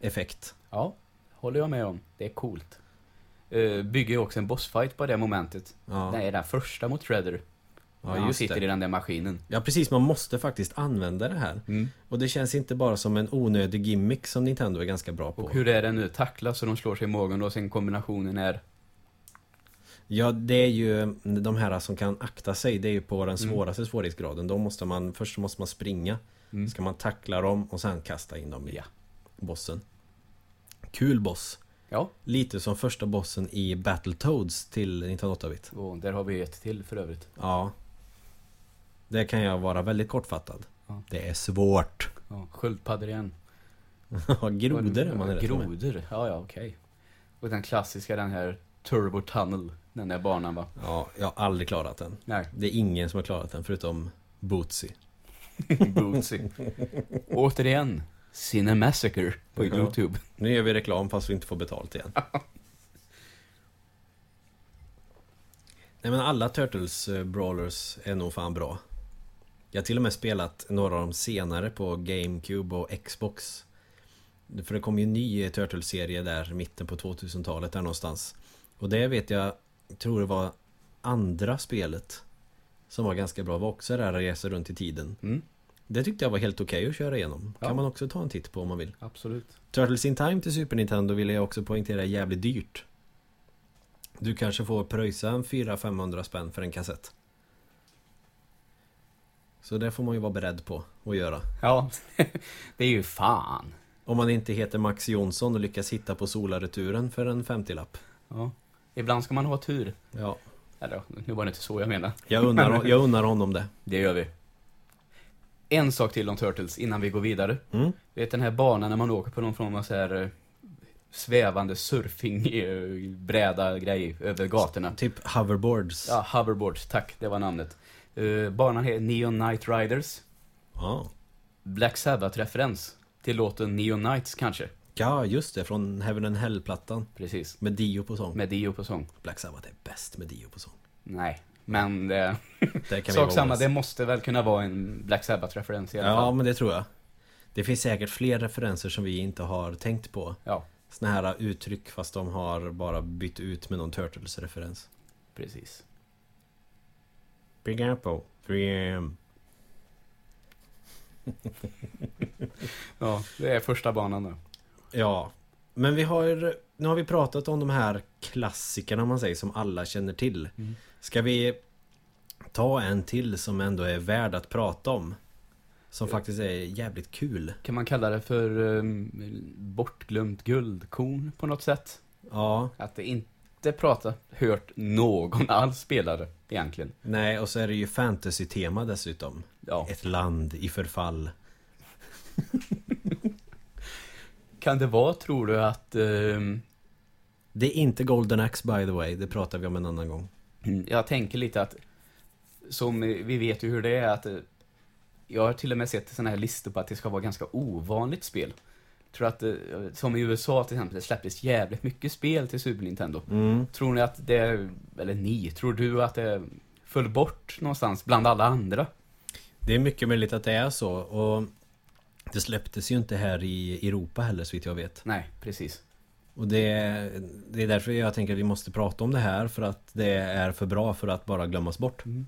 effekt. ja, håller jag med om. Det är coolt. Eh, Bygger ju också en bossfight på det momentet. Ja, Nej, den första mot Shredder. ja han just sitter det. i den där maskinen. Ja precis, man måste faktiskt använda det här. Mm. Och det känns inte bara som en onödig gimmick som Nintendo är ganska bra på. Och hur är det nu? Tacklas så de slår sig i magen och sen kombinationen är... Ja, det är ju de här som kan akta sig. Det är ju på den svåraste svårighetsgraden. Då måste man, först måste man springa. Mm. Ska man tackla dem och sen kasta in dem i Ja. bossen. Kul boss. Ja, Lite som första bossen i Battletoads till 1908-bit. och där har vi ett till för övrigt. Ja. Det kan jag vara väldigt kortfattad. Ja. Det är svårt. Ja, sköldpaddor igen. Grodor om man är rätt med. Grodor, ja ja okej. Och den klassiska den här Turbo Tunnel, den där banan va? Ja, jag har aldrig klarat den. Nej, Det är ingen som har klarat den förutom Bootsy. Bootsy. Återigen, Cinemassacre på Ja. Youtube. Nu gör vi reklam fast vi inte får betalt igen. Nej men alla Turtles eh, Brawlers är nog fan bra. Jag har till och med spelat några av dem senare på GameCube och Xbox. För det kom ju en ny eh, Turtles-serie där i mitten på 2000-talet där någonstans. Och det vet jag, tror det var andra spelet som var ganska bra. Det var också det här Resa runt i tiden. Mm, Det tyckte jag var helt okej att köra igenom. Ja. Kan man också ta en titt på om man vill. absolut. Turtles in Time till Super Nintendo vill jag också poängtera är jävligt dyrt. Du kanske får pröjsa en 400-500 spänn för en kassett. Så det får man ju vara beredd på att göra. Ja, det är ju fan. Om man inte heter Max Jonsson och lyckas hitta på Solareturen för en 50-lapp. Ja. Ibland ska man ha tur. Ja, Eller nu var det inte så jag menade. jag unnar, jag unnar honom det. Det gör vi. En sak till om Turtles innan vi går vidare. Mm? Du vet den här banan när man åker på någon form av så här eh, svävande surfingbräda grej över gatorna. Typ hoverboards. Ja, hoverboard, tack, det var namnet. Eh, banan heter Neon Knight Riders. Ja. Black Sabbath-referens till låten Neon Knights kanske. ja, just det. Från Heaven and Hell-plattan. Precis. Med Dio på sång. Med Dio på sång. Black Sabbath är bäst med Dio på sång. Nej, men det... Det kan vi Sak vara samma, överens. det måste väl kunna vara en Black Sabbath-referens i alla Ja, fall. men det tror jag. Det finns säkert fler referenser som vi inte har tänkt på. Ja, Såna här uttryck fast de har bara bytt ut med någon Turtles-referens. precis. Big Apple. 3M. Ja, det är första banan då. Ja, men vi har... Nu har vi pratat om de här klassikerna om man säger som alla känner till. Mm. Ska vi ta en till som ändå är värd att prata om? Eh. Som faktiskt är jävligt kul. Kan man kalla det för um, bortglömt guldkorn på något sätt? Ja, Att det inte prata hört någon alls spelare egentligen. nej och så är det ju fantasy-tema dessutom. Ja. Ett land i förfall. Kan det vara, tror du, att... ehm, Det är inte Golden Axe by the way, det pratar vi om en annan gång. jag tänker lite att... Som eh, vi vet ju hur det är att... eh, jag har till och med sett sådana här listor på att det ska vara ganska ovanligt spel. Tror att, eh, som i USA till exempel, det släpptes jävligt mycket spel till Super Nintendo. Mm. Tror ni att det, eller ni, tror du att det föll bort någonstans bland alla andra? Det är mycket möjligt att det är så och det släpptes ju inte här i Europa heller så vitt jag vet. Nej, precis. Och det, det är därför jag tänker att vi måste prata om det här för att det är för bra för att bara glömmas bort. Mm.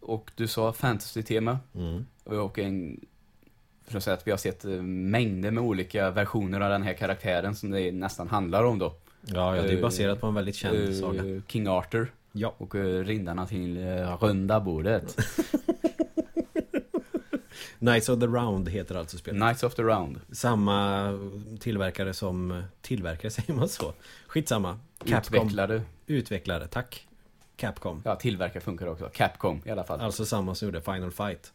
Och du sa fantasy-tema Mm. och en... För att säga att vi har sett eh, mängder med olika versioner av den här karaktären som det nästan handlar om då. Ja, ja, det är Eh, baserat på en väldigt känd Eh, saga. King Arthur Ja, och eh, rindarna till eh, runda bordet. Knights of the Round heter alltså spelet. Knights of the Round. Samma tillverkare som... Tillverkare, säger man så? Skitsamma. Capcom. Utvecklade, Utvecklare, tack. Capcom. ja tillverkare funkar också. Capcom i alla fall. Alltså samma som gjorde Final Fight.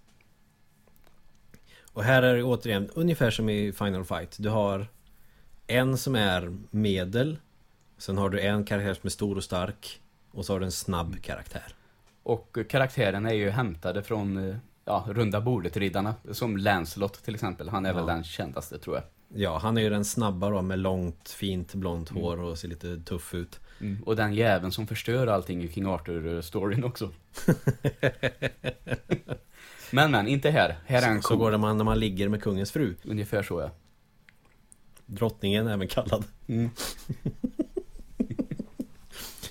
Och här är det återigen ungefär som i Final Fight. Du har en som är medel. Sen har du en karaktär som är stor och stark. Och så har du en Mm. snabb karaktär. Och eh, karaktärerna är ju hämtade från eh, ja, runda bordet-riddarna. Som Lancelot till exempel. Han är väl Ja. den kändaste tror jag. Ja, han är ju den snabba då med långt, fint, blont Mm. hår och ser lite tuff ut. Och den jäveln som förstör allting i King Arthur-storyn också. men men, inte här. Här är en Så, så ko. går det man när man ligger med kungens fru. Ungefär så ja. Drottningen även kallad. Mm.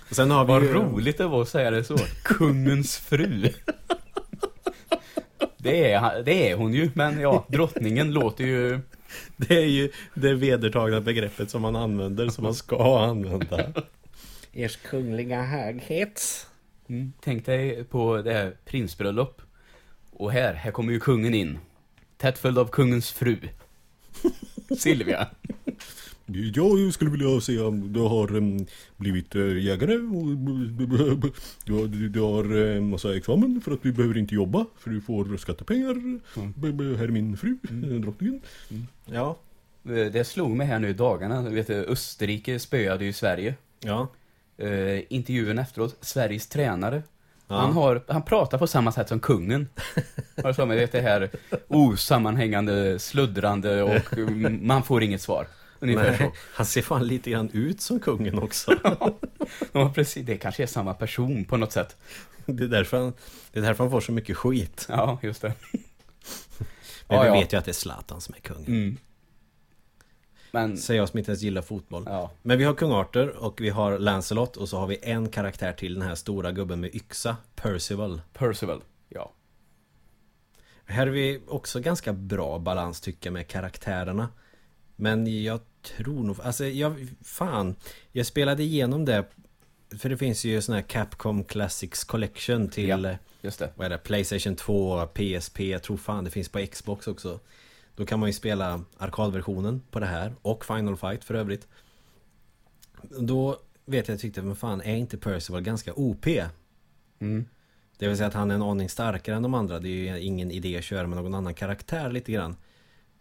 Och sen har vi Vad ju- roligt det var att säga det så. Kungens fru. Det är, han- det är hon ju, men ja, drottningen låter ju... Det är ju det vedertagna begreppet som man använder, som man ska använda. Ers kungliga höghet. Mm. Tänk dig på det här prinsbröllop. Och här, här kommer ju kungen in. Tätt följd av kungens fru. Silvia. Jag skulle vilja säga att jag har em, blivit eh, jägare och jag, jag har eh, massa examen för att du behöver inte jobba för du får skattepengar. B- b- Här är min fru, eh, drottningen. Mm. Ja. Eh, Det slog mig här nu i dagarna. Du vet, eh, Österrike spöade ju Sverige. Ja. Eh, intervjun efteråt, Sveriges tränare. Ja. Han, har, han pratar på samma sätt som kungen. Har jag för mig, vet, det här osammanhängande, sluddrande och mm, man får inget svar. Ungefär så. Nej, han ser fan lite grann ut som kungen också. Ja, precis. Det kanske är samma person på något sätt. Det är därför han, det är därför han får så mycket skit. Ja, just det. Men Ja, vi ja. vet ju att det är Zlatan som är kungen. Mm. Men, Säger jag som inte ens gillar fotboll. ja. Men vi har kung Arthur och vi har Lancelot och så har vi en karaktär till, den här stora gubben med yxa, Percival. Percival. Ja. Här är vi också ganska bra balans tycker jag med karaktärerna. Men jag tror nog, alltså jag, fan. Jag spelade igenom det. För det finns ju sån här Capcom Classics Collection till, Ja. Just det. vad är det, Playstation 2, PSP, jag tror fan det finns på Xbox också. Då kan man ju spela arkadversionen på det här och Final Fight för övrigt. Då vet jag, jag tyckte, men fan är inte Percival ganska OP? Mm. Det vill säga att han är en aning starkare än de andra. Det är ju ingen idé att köra med någon annan karaktär lite grann.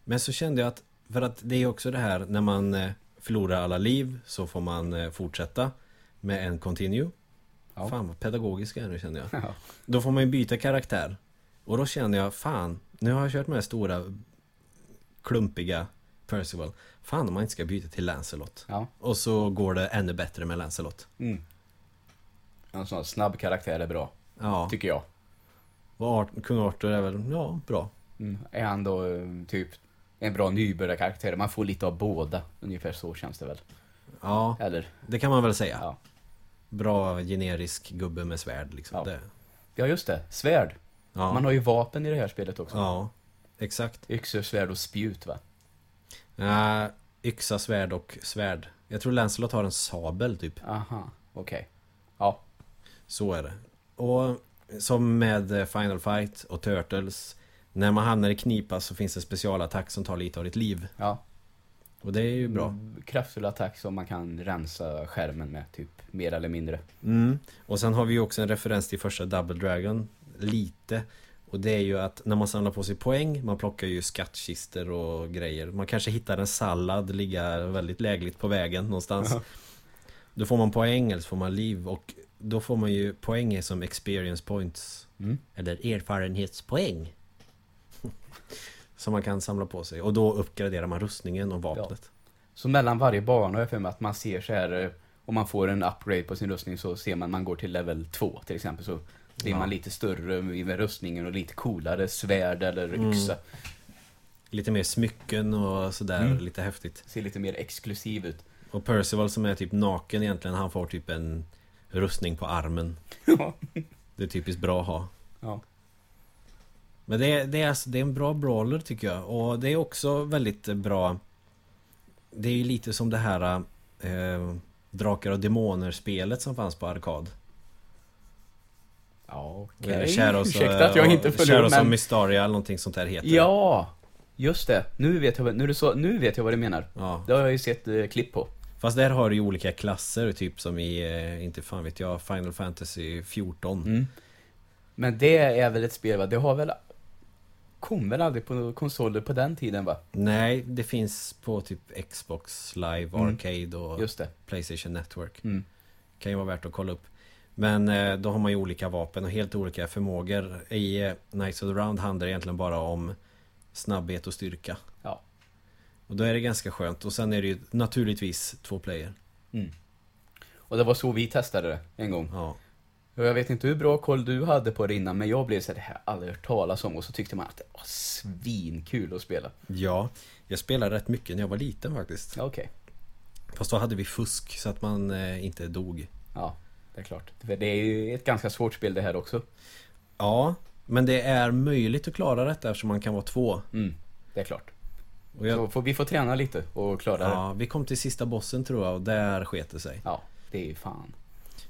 Men så kände jag att, för att det är också det här när man eh, förlorar alla liv så får man eh, fortsätta med en continue. Ja. Fan vad pedagogisk jag är nu känner jag. Ja. Då får man ju byta karaktär. Och då känner jag, fan, nu har jag kört med den stora klumpiga Percival. Fan om man inte ska byta till Lancelot. ja. Och så går det ännu bättre med Lancelot. En sån här snabb karaktär är bra, Ja, tycker jag. och Art- kung Arthur är väl, ja, bra. Mm. Är han då eh, typ en bra nybörjarkaraktär? Man får lite av båda. Ungefär så känns det väl. Ja, Eller? det kan man väl säga. Ja. Bra generisk gubbe med svärd liksom. Ja. Det. Ja, just det. Svärd. Ja. Man har ju vapen i det här spelet också. ja, exakt. Yxor, svärd och spjut va? Ja, yxa, svärd och svärd. Jag tror Lancelot har en sabel typ. Aha, okej. Ja, Så är det. Och som med eh, Final Fight och Turtles. När man hamnar i knipa så finns det specialattack som tar lite av ditt liv. ja. Och det är ju bra. Mm, Kraftfull attack som man kan rensa skärmen med, typ. Mer eller mindre. Mm. Och sen har vi ju också en referens till första Double Dragon. Lite. Och det är ju att när man samlar på sig poäng, man plockar ju skattkister och grejer. Man kanske hittar en sallad ligga väldigt lägligt på vägen någonstans. Då får man poäng eller så får man liv och då får man ju poäng är som experience points. Mm. Eller erfarenhetspoäng. som man kan samla på sig. Och då uppgraderar man rustningen och vapnet. Så mellan varje bana har jag för mig att man ser så här eh, om man får en upgrade på sin rustning så ser man man går till level 2 till exempel så blir Ja. man lite större med rustningen och lite coolare svärd eller Mm. yxa. Lite mer smycken och sådär, Mm. lite häftigt. Ser lite mer exklusiv ut. Och Percival som är typ naken egentligen, han får typ en rustning på armen. ja. Det är typiskt bra att ha. Ja. Men det är, det, är, alltså- det är en bra brawler tycker jag. Och det är också väldigt eh, bra. Det är ju lite som det här eh, Drakar och Demoner-spelet som fanns på arkad. okej. Eh, Shadows och- Ursäkta att jag inte och följer Shadows med. of Mystaria eller någonting sånt där heter det. Ja! Just det. Nu vet jag, vad- nu är det så, nu vet jag vad du menar. ja. Det har jag ju sett eh, klipp på. Fast där har du ju olika klasser, typ som i, eh, inte fan vet jag, Final Fantasy 14. Men det är väl ett spel va? Det har väl... Kom väl aldrig på konsoler på den tiden va? Nej, det finns på typ Xbox Live Mm. Arcade och Just det. Playstation Network. Mm. Kan ju vara värt att kolla upp. Men eh, då har man ju olika vapen och helt olika förmågor. I eh, Knights of the Round handlar det egentligen bara om snabbhet och styrka. Ja. Och då är det ganska skönt. Och sen är det ju naturligtvis två player. Och det var så vi testade det en gång. Ja, Och jag vet inte hur bra koll du hade på det innan, men jag blev så här, det här har jag aldrig hört talas om. Och så tyckte man att det var svinkul att spela. ja jag spelade rätt mycket när jag var liten faktiskt. Ja, Okej. Fast då hade vi fusk så att man eh, inte dog. Ja, det är klart. För det är ju ett ganska svårt spel det här också. Ja, men det är möjligt att klara detta eftersom man kan vara två. Mm, det är klart. Och jag, Så får, vi får träna lite och klara det. Ja, vi kom till sista bossen tror jag och där sket det sig. Ja, det är ju fan.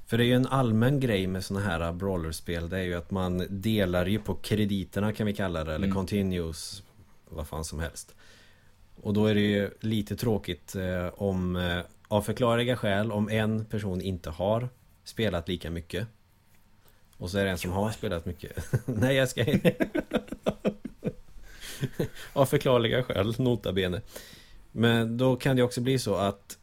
För det är ju en allmän grej med såna här brawlerspel. Det är ju att man delar ju på krediterna kan vi kalla det. Eller Mm. continues. Vad fan som helst. Och då är det ju lite tråkigt eh, om eh, av förklarliga skäl om en person inte har spelat lika mycket. Och så är det en som har spelat mycket. Nej jag ska Av förklarliga skäl, nota bene. Men då kan det också bli så att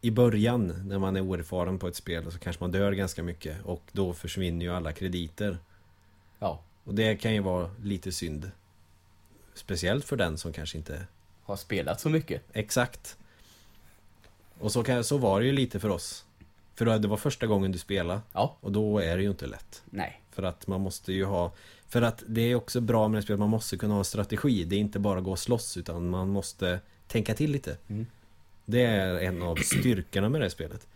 i början när man är oerfaren på ett spel så kanske man dör ganska mycket och då försvinner ju alla krediter. Ja, Och det kan ju vara lite synd. Speciellt för den som kanske inte har spelat så mycket. exakt. Och så, kan, så var det ju lite för oss. För då- det var första gången du spelade Ja, och då är det ju inte lätt. nej. För att man måste ju ha För att det är också bra med det här spelet, man måste kunna ha en strategi Det är inte bara gå och slåss utan man måste tänka till lite Mm. Det är en av styrkorna med det här spelet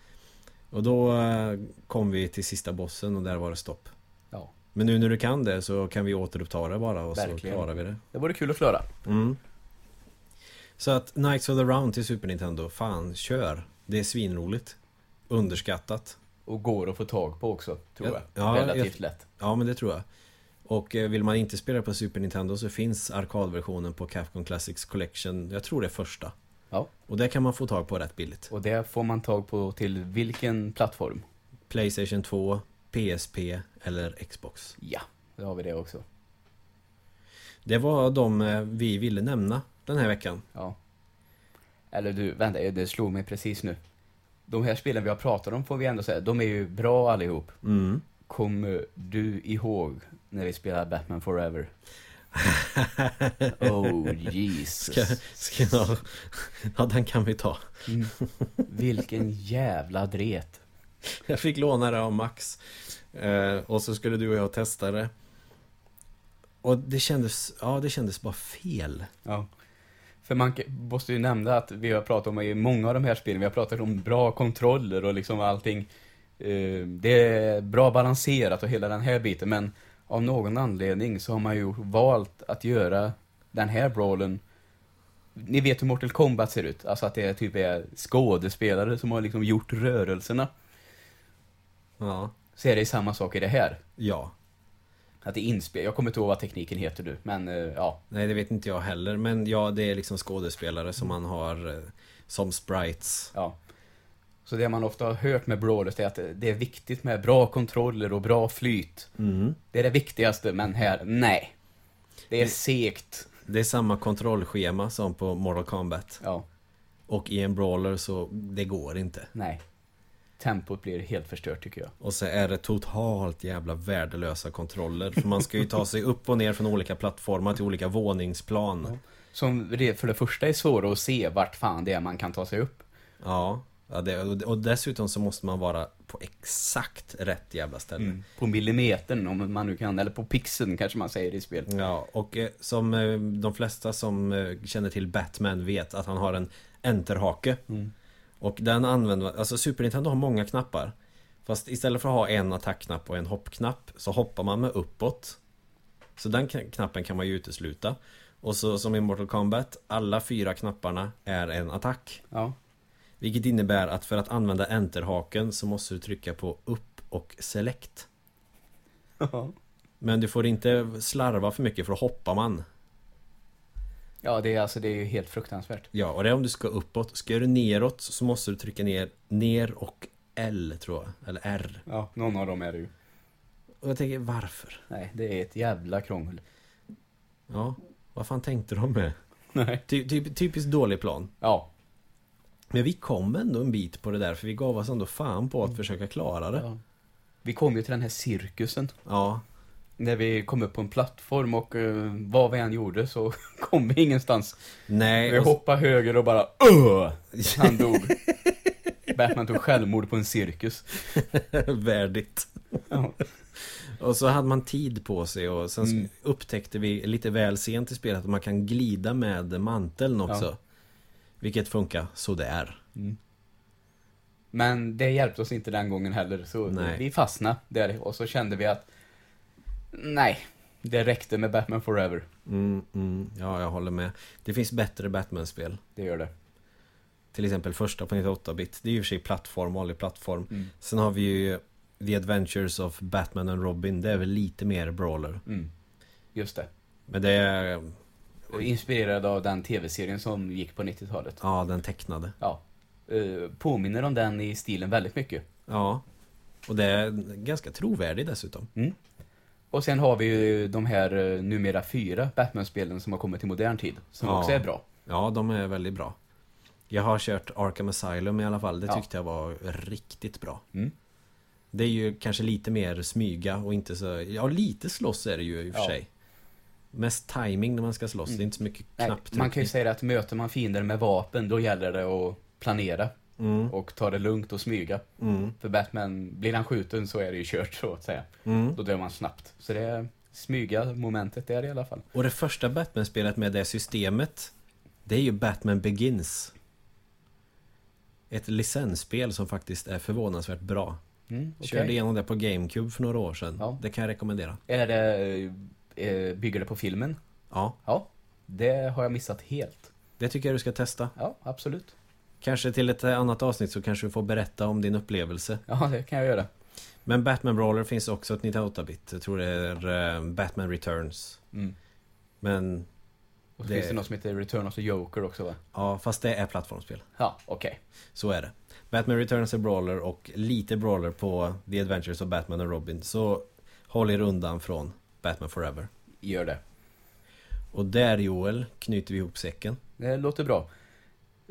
Och då eh, kom vi till sista bossen och där var det stopp Ja, Men nu när du kan det så kan vi återuppta det bara och Verkligen. så klarar vi det det vore kul att klara. mm. Så att Knights of the Round till Super Nintendo, fan kör! Det är svinroligt Underskattat Och går att få tag på också, tror Ja, jag. ja, Relativt lätt. Ja men det tror jag. Och eh, vill man inte spela på Super Nintendo så finns arkadversionen på Capcom Classics Collection. Jag tror det är första. Ja. Och där kan man få tag på rätt billigt. Och det får man tag på till vilken plattform? Playstation 2, PSP eller Xbox. Ja, då har vi det också. Det var de eh, vi ville nämna den här veckan. Ja. Eller du, vänta, det slog mig precis nu. de här spelen vi har pratat om får vi ändå säga, de är ju bra allihop. Mm. Kommer du ihåg när vi spelade Batman Forever? Oh Ska, Jesus. ska jag... Ja, den kan vi ta. Mm. Vilken jävla dret. Jag fick låna det av Max. Eh, och så skulle du och jag testa det. Och det kändes, ja det kändes bara fel. Ja. För man k- måste ju nämna att vi har pratat om i många av de här spelen, vi har pratat om bra kontroller och liksom allting. Eh, Det är bra balanserat och hela den här biten, men av någon anledning så har man ju valt att göra den här brawlen. Ni vet hur Mortal Kombat ser ut, alltså att det är typ är skådespelare som har liksom gjort rörelserna. Ja. Så är det samma sak i det här. Ja. Att det är inspel. Jag kommer inte ihåg vad tekniken heter nu, men eh, ja. Nej det vet inte jag heller. Men ja det är liksom skådespelare som man har eh, som sprites. Ja. Så det man ofta har hört med brawlers är att det är viktigt med bra kontroller och bra flyt. Det är det viktigaste, men här, nej. Det är segt. Det är samma kontrollschema som på Mortal Kombat. Ja, Och i en brawler så det går inte. nej. Tempot blir helt förstört tycker jag. Och så är det totalt jävla värdelösa kontroller. För man ska ju ta sig upp och ner från olika plattformar till olika våningsplan. Som det för det första är svåra att se vart fan det är man kan ta sig upp. Ja, ja det, och- och dessutom så måste man vara på exakt rätt jävla ställe. Mm. På millimetern om man nu kan, eller på pixeln kanske man säger i spel. Ja, och eh, som eh, de flesta som eh, känner till Batman vet att han har en enterhake. Och den använder man, alltså Super Nintendo har många knappar. Fast istället för att ha en attackknapp och en hoppknapp så hoppar man med uppåt. Så den kn- knappen kan man ju utesluta. Och så som i Mortal Kombat, alla fyra knapparna är en attack. Ja. Vilket innebär att för att använda enterhaken så måste du trycka på upp och select. Men du får inte slarva för mycket för då hoppar man. ja, det är alltså det är ju helt fruktansvärt. Ja, och det är om du ska uppåt. Ska du neråt så måste du trycka ner ner och L tror jag, eller R. Ja, någon av dem är det ju. Och jag tänker varför? Nej, det är ett jävla krångel. Ja, vad fan tänkte de med? Nej. Ty, typ, typiskt dålig plan. Ja. Men vi kom ändå en bit på det där för vi gav oss ändå fan på att försöka klara det. Ja. Vi kom ju till den här cirkusen. Ja, När vi kom upp på en plattform och eh, vad vi än gjorde så kom vi ingenstans. Vi nej. Och, hoppade höger och bara öh! Han dog. Batman tog självmord på en cirkus. värdigt. Ja. Och så hade man tid på sig och sen Mm. upptäckte vi lite väl sent i spelet att man kan glida med manteln också. Vilket funkar sådär. Men det hjälpte oss inte den gången heller så Nej. vi fastnade där och så kände vi att nej, det räckte med Batman Forever. Mm, mm, ja, jag håller med. Det finns bättre Batman-spel. Det gör det. Till exempel första på 98-bit. Det är ju i och för sig plattform, vanlig plattform. Mm. Sen har vi ju The Adventures of Batman and Robin. Det är väl lite mer brawler. Mm. Just det. Men det är... Och Inspirerad av den tv-serien som gick på 90-talet. Ja, den tecknade. Ja. Eh, påminner om den i stilen väldigt mycket. Ja. Och det är ganska trovärdig dessutom. Mm. Och sen har vi ju de här eh, numera fyra Batman-spelen som har kommit i modern tid, som Ja. också är bra. Ja, de är väldigt bra. Jag har kört Arkham Asylum i alla fall. Det Ja. tyckte jag var riktigt bra. Mm. Det är ju kanske lite mer smyga och inte så... Ja, lite slåss är det ju i och för Ja. Mm. sig. Mest timing när man ska slåss. Det är inte så mycket Nej, knapptryckning. man kan ju säga att möter man fiender med vapen, då gäller det att planera Mm, och ta det lugnt och smyga. mm, För Batman, blir han skjuten så är det ju kört så att säga. mm. Då dör man snabbt. Så det är smyga momentet där i alla fall. Och det första Batman-spelet med det systemet Det är ju Batman Begins Ett licensspel som faktiskt är förvånansvärt bra Mm, okej. Körde igenom det på GameCube för några år sedan Ja. Det kan jag rekommendera Är det, eh, bygger det på filmen? Ja, Ja, det har jag missat helt. det tycker jag du ska testa Ja, absolut. Kanske till ett annat avsnitt så kanske du får berätta om din upplevelse Ja, det kan jag göra. Men Batman Brawler finns också ett 98-bit Jag tror det är eh, Batman Returns Mm. Men Och så Det- finns det något som heter Return of the Joker också va? ja, fast det är plattformsspel Ja, okej. Så är det. Batman Returns är brawler och lite brawler på The Adventures of Batman och Robin. Så håll er undan från Batman Forever. Gör det. Och där Joel knyter vi ihop säcken. Det låter bra.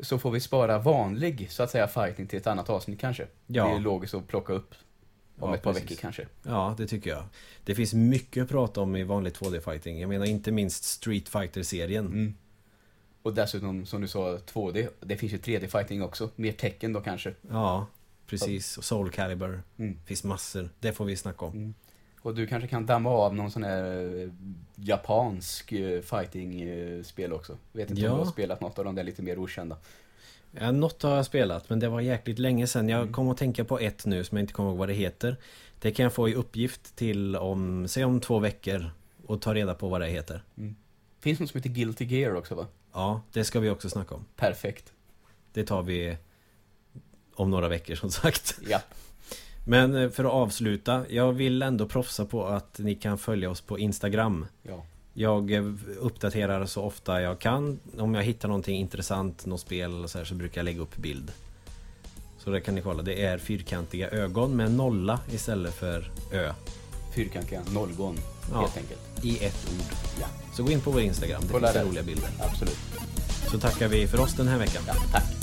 Så får vi spara vanlig, så att säga, fighting till ett annat avsnitt kanske. Ja. Det är logiskt att plocka upp om Ja, ett par precis. veckor kanske. Ja, det tycker jag. Det finns mycket att prata om i vanlig 2D-fighting. Jag menar inte minst Street Fighter-serien. Mm. Och dessutom, som du sa, 2D. Det finns ju 3D-fighting också. Mer tecken då kanske. Ja, precis. Och Soul Calibur. Mm. finns massor. Det får vi snacka om. Och du kanske kan damma av någon sån här eh, japansk eh, fighting-spel också. Vet inte om Ja. du har spelat något av de där lite mer okända. Ja, något har jag spelat men det var jäkligt länge sedan. Jag kom att tänka på ett nu som jag inte kommer ihåg vad det heter. Det kan jag få i uppgift till om, säg om två veckor och ta reda på vad det heter. Finns något som heter Guilty Gear också va? Ja, det ska vi också snacka om. Perfekt. Det tar vi om några veckor som sagt. Ja. Men eh, för att avsluta, jag vill ändå proffsa på att ni kan följa oss på Instagram. ja. Jag eh, uppdaterar så ofta jag kan. Om jag hittar någonting intressant, något spel eller så här, så brukar jag lägga upp bild. Så där kan ni kolla. Det är fyrkantiga ögon med nolla istället för ö Fyrkantiga nollgång, Ja. helt enkelt. i ett ord. Ja, Så gå in på vår Instagram, det Kolla finns där. roliga bilder. absolut. Så tackar vi för oss den här veckan. Ja, tack.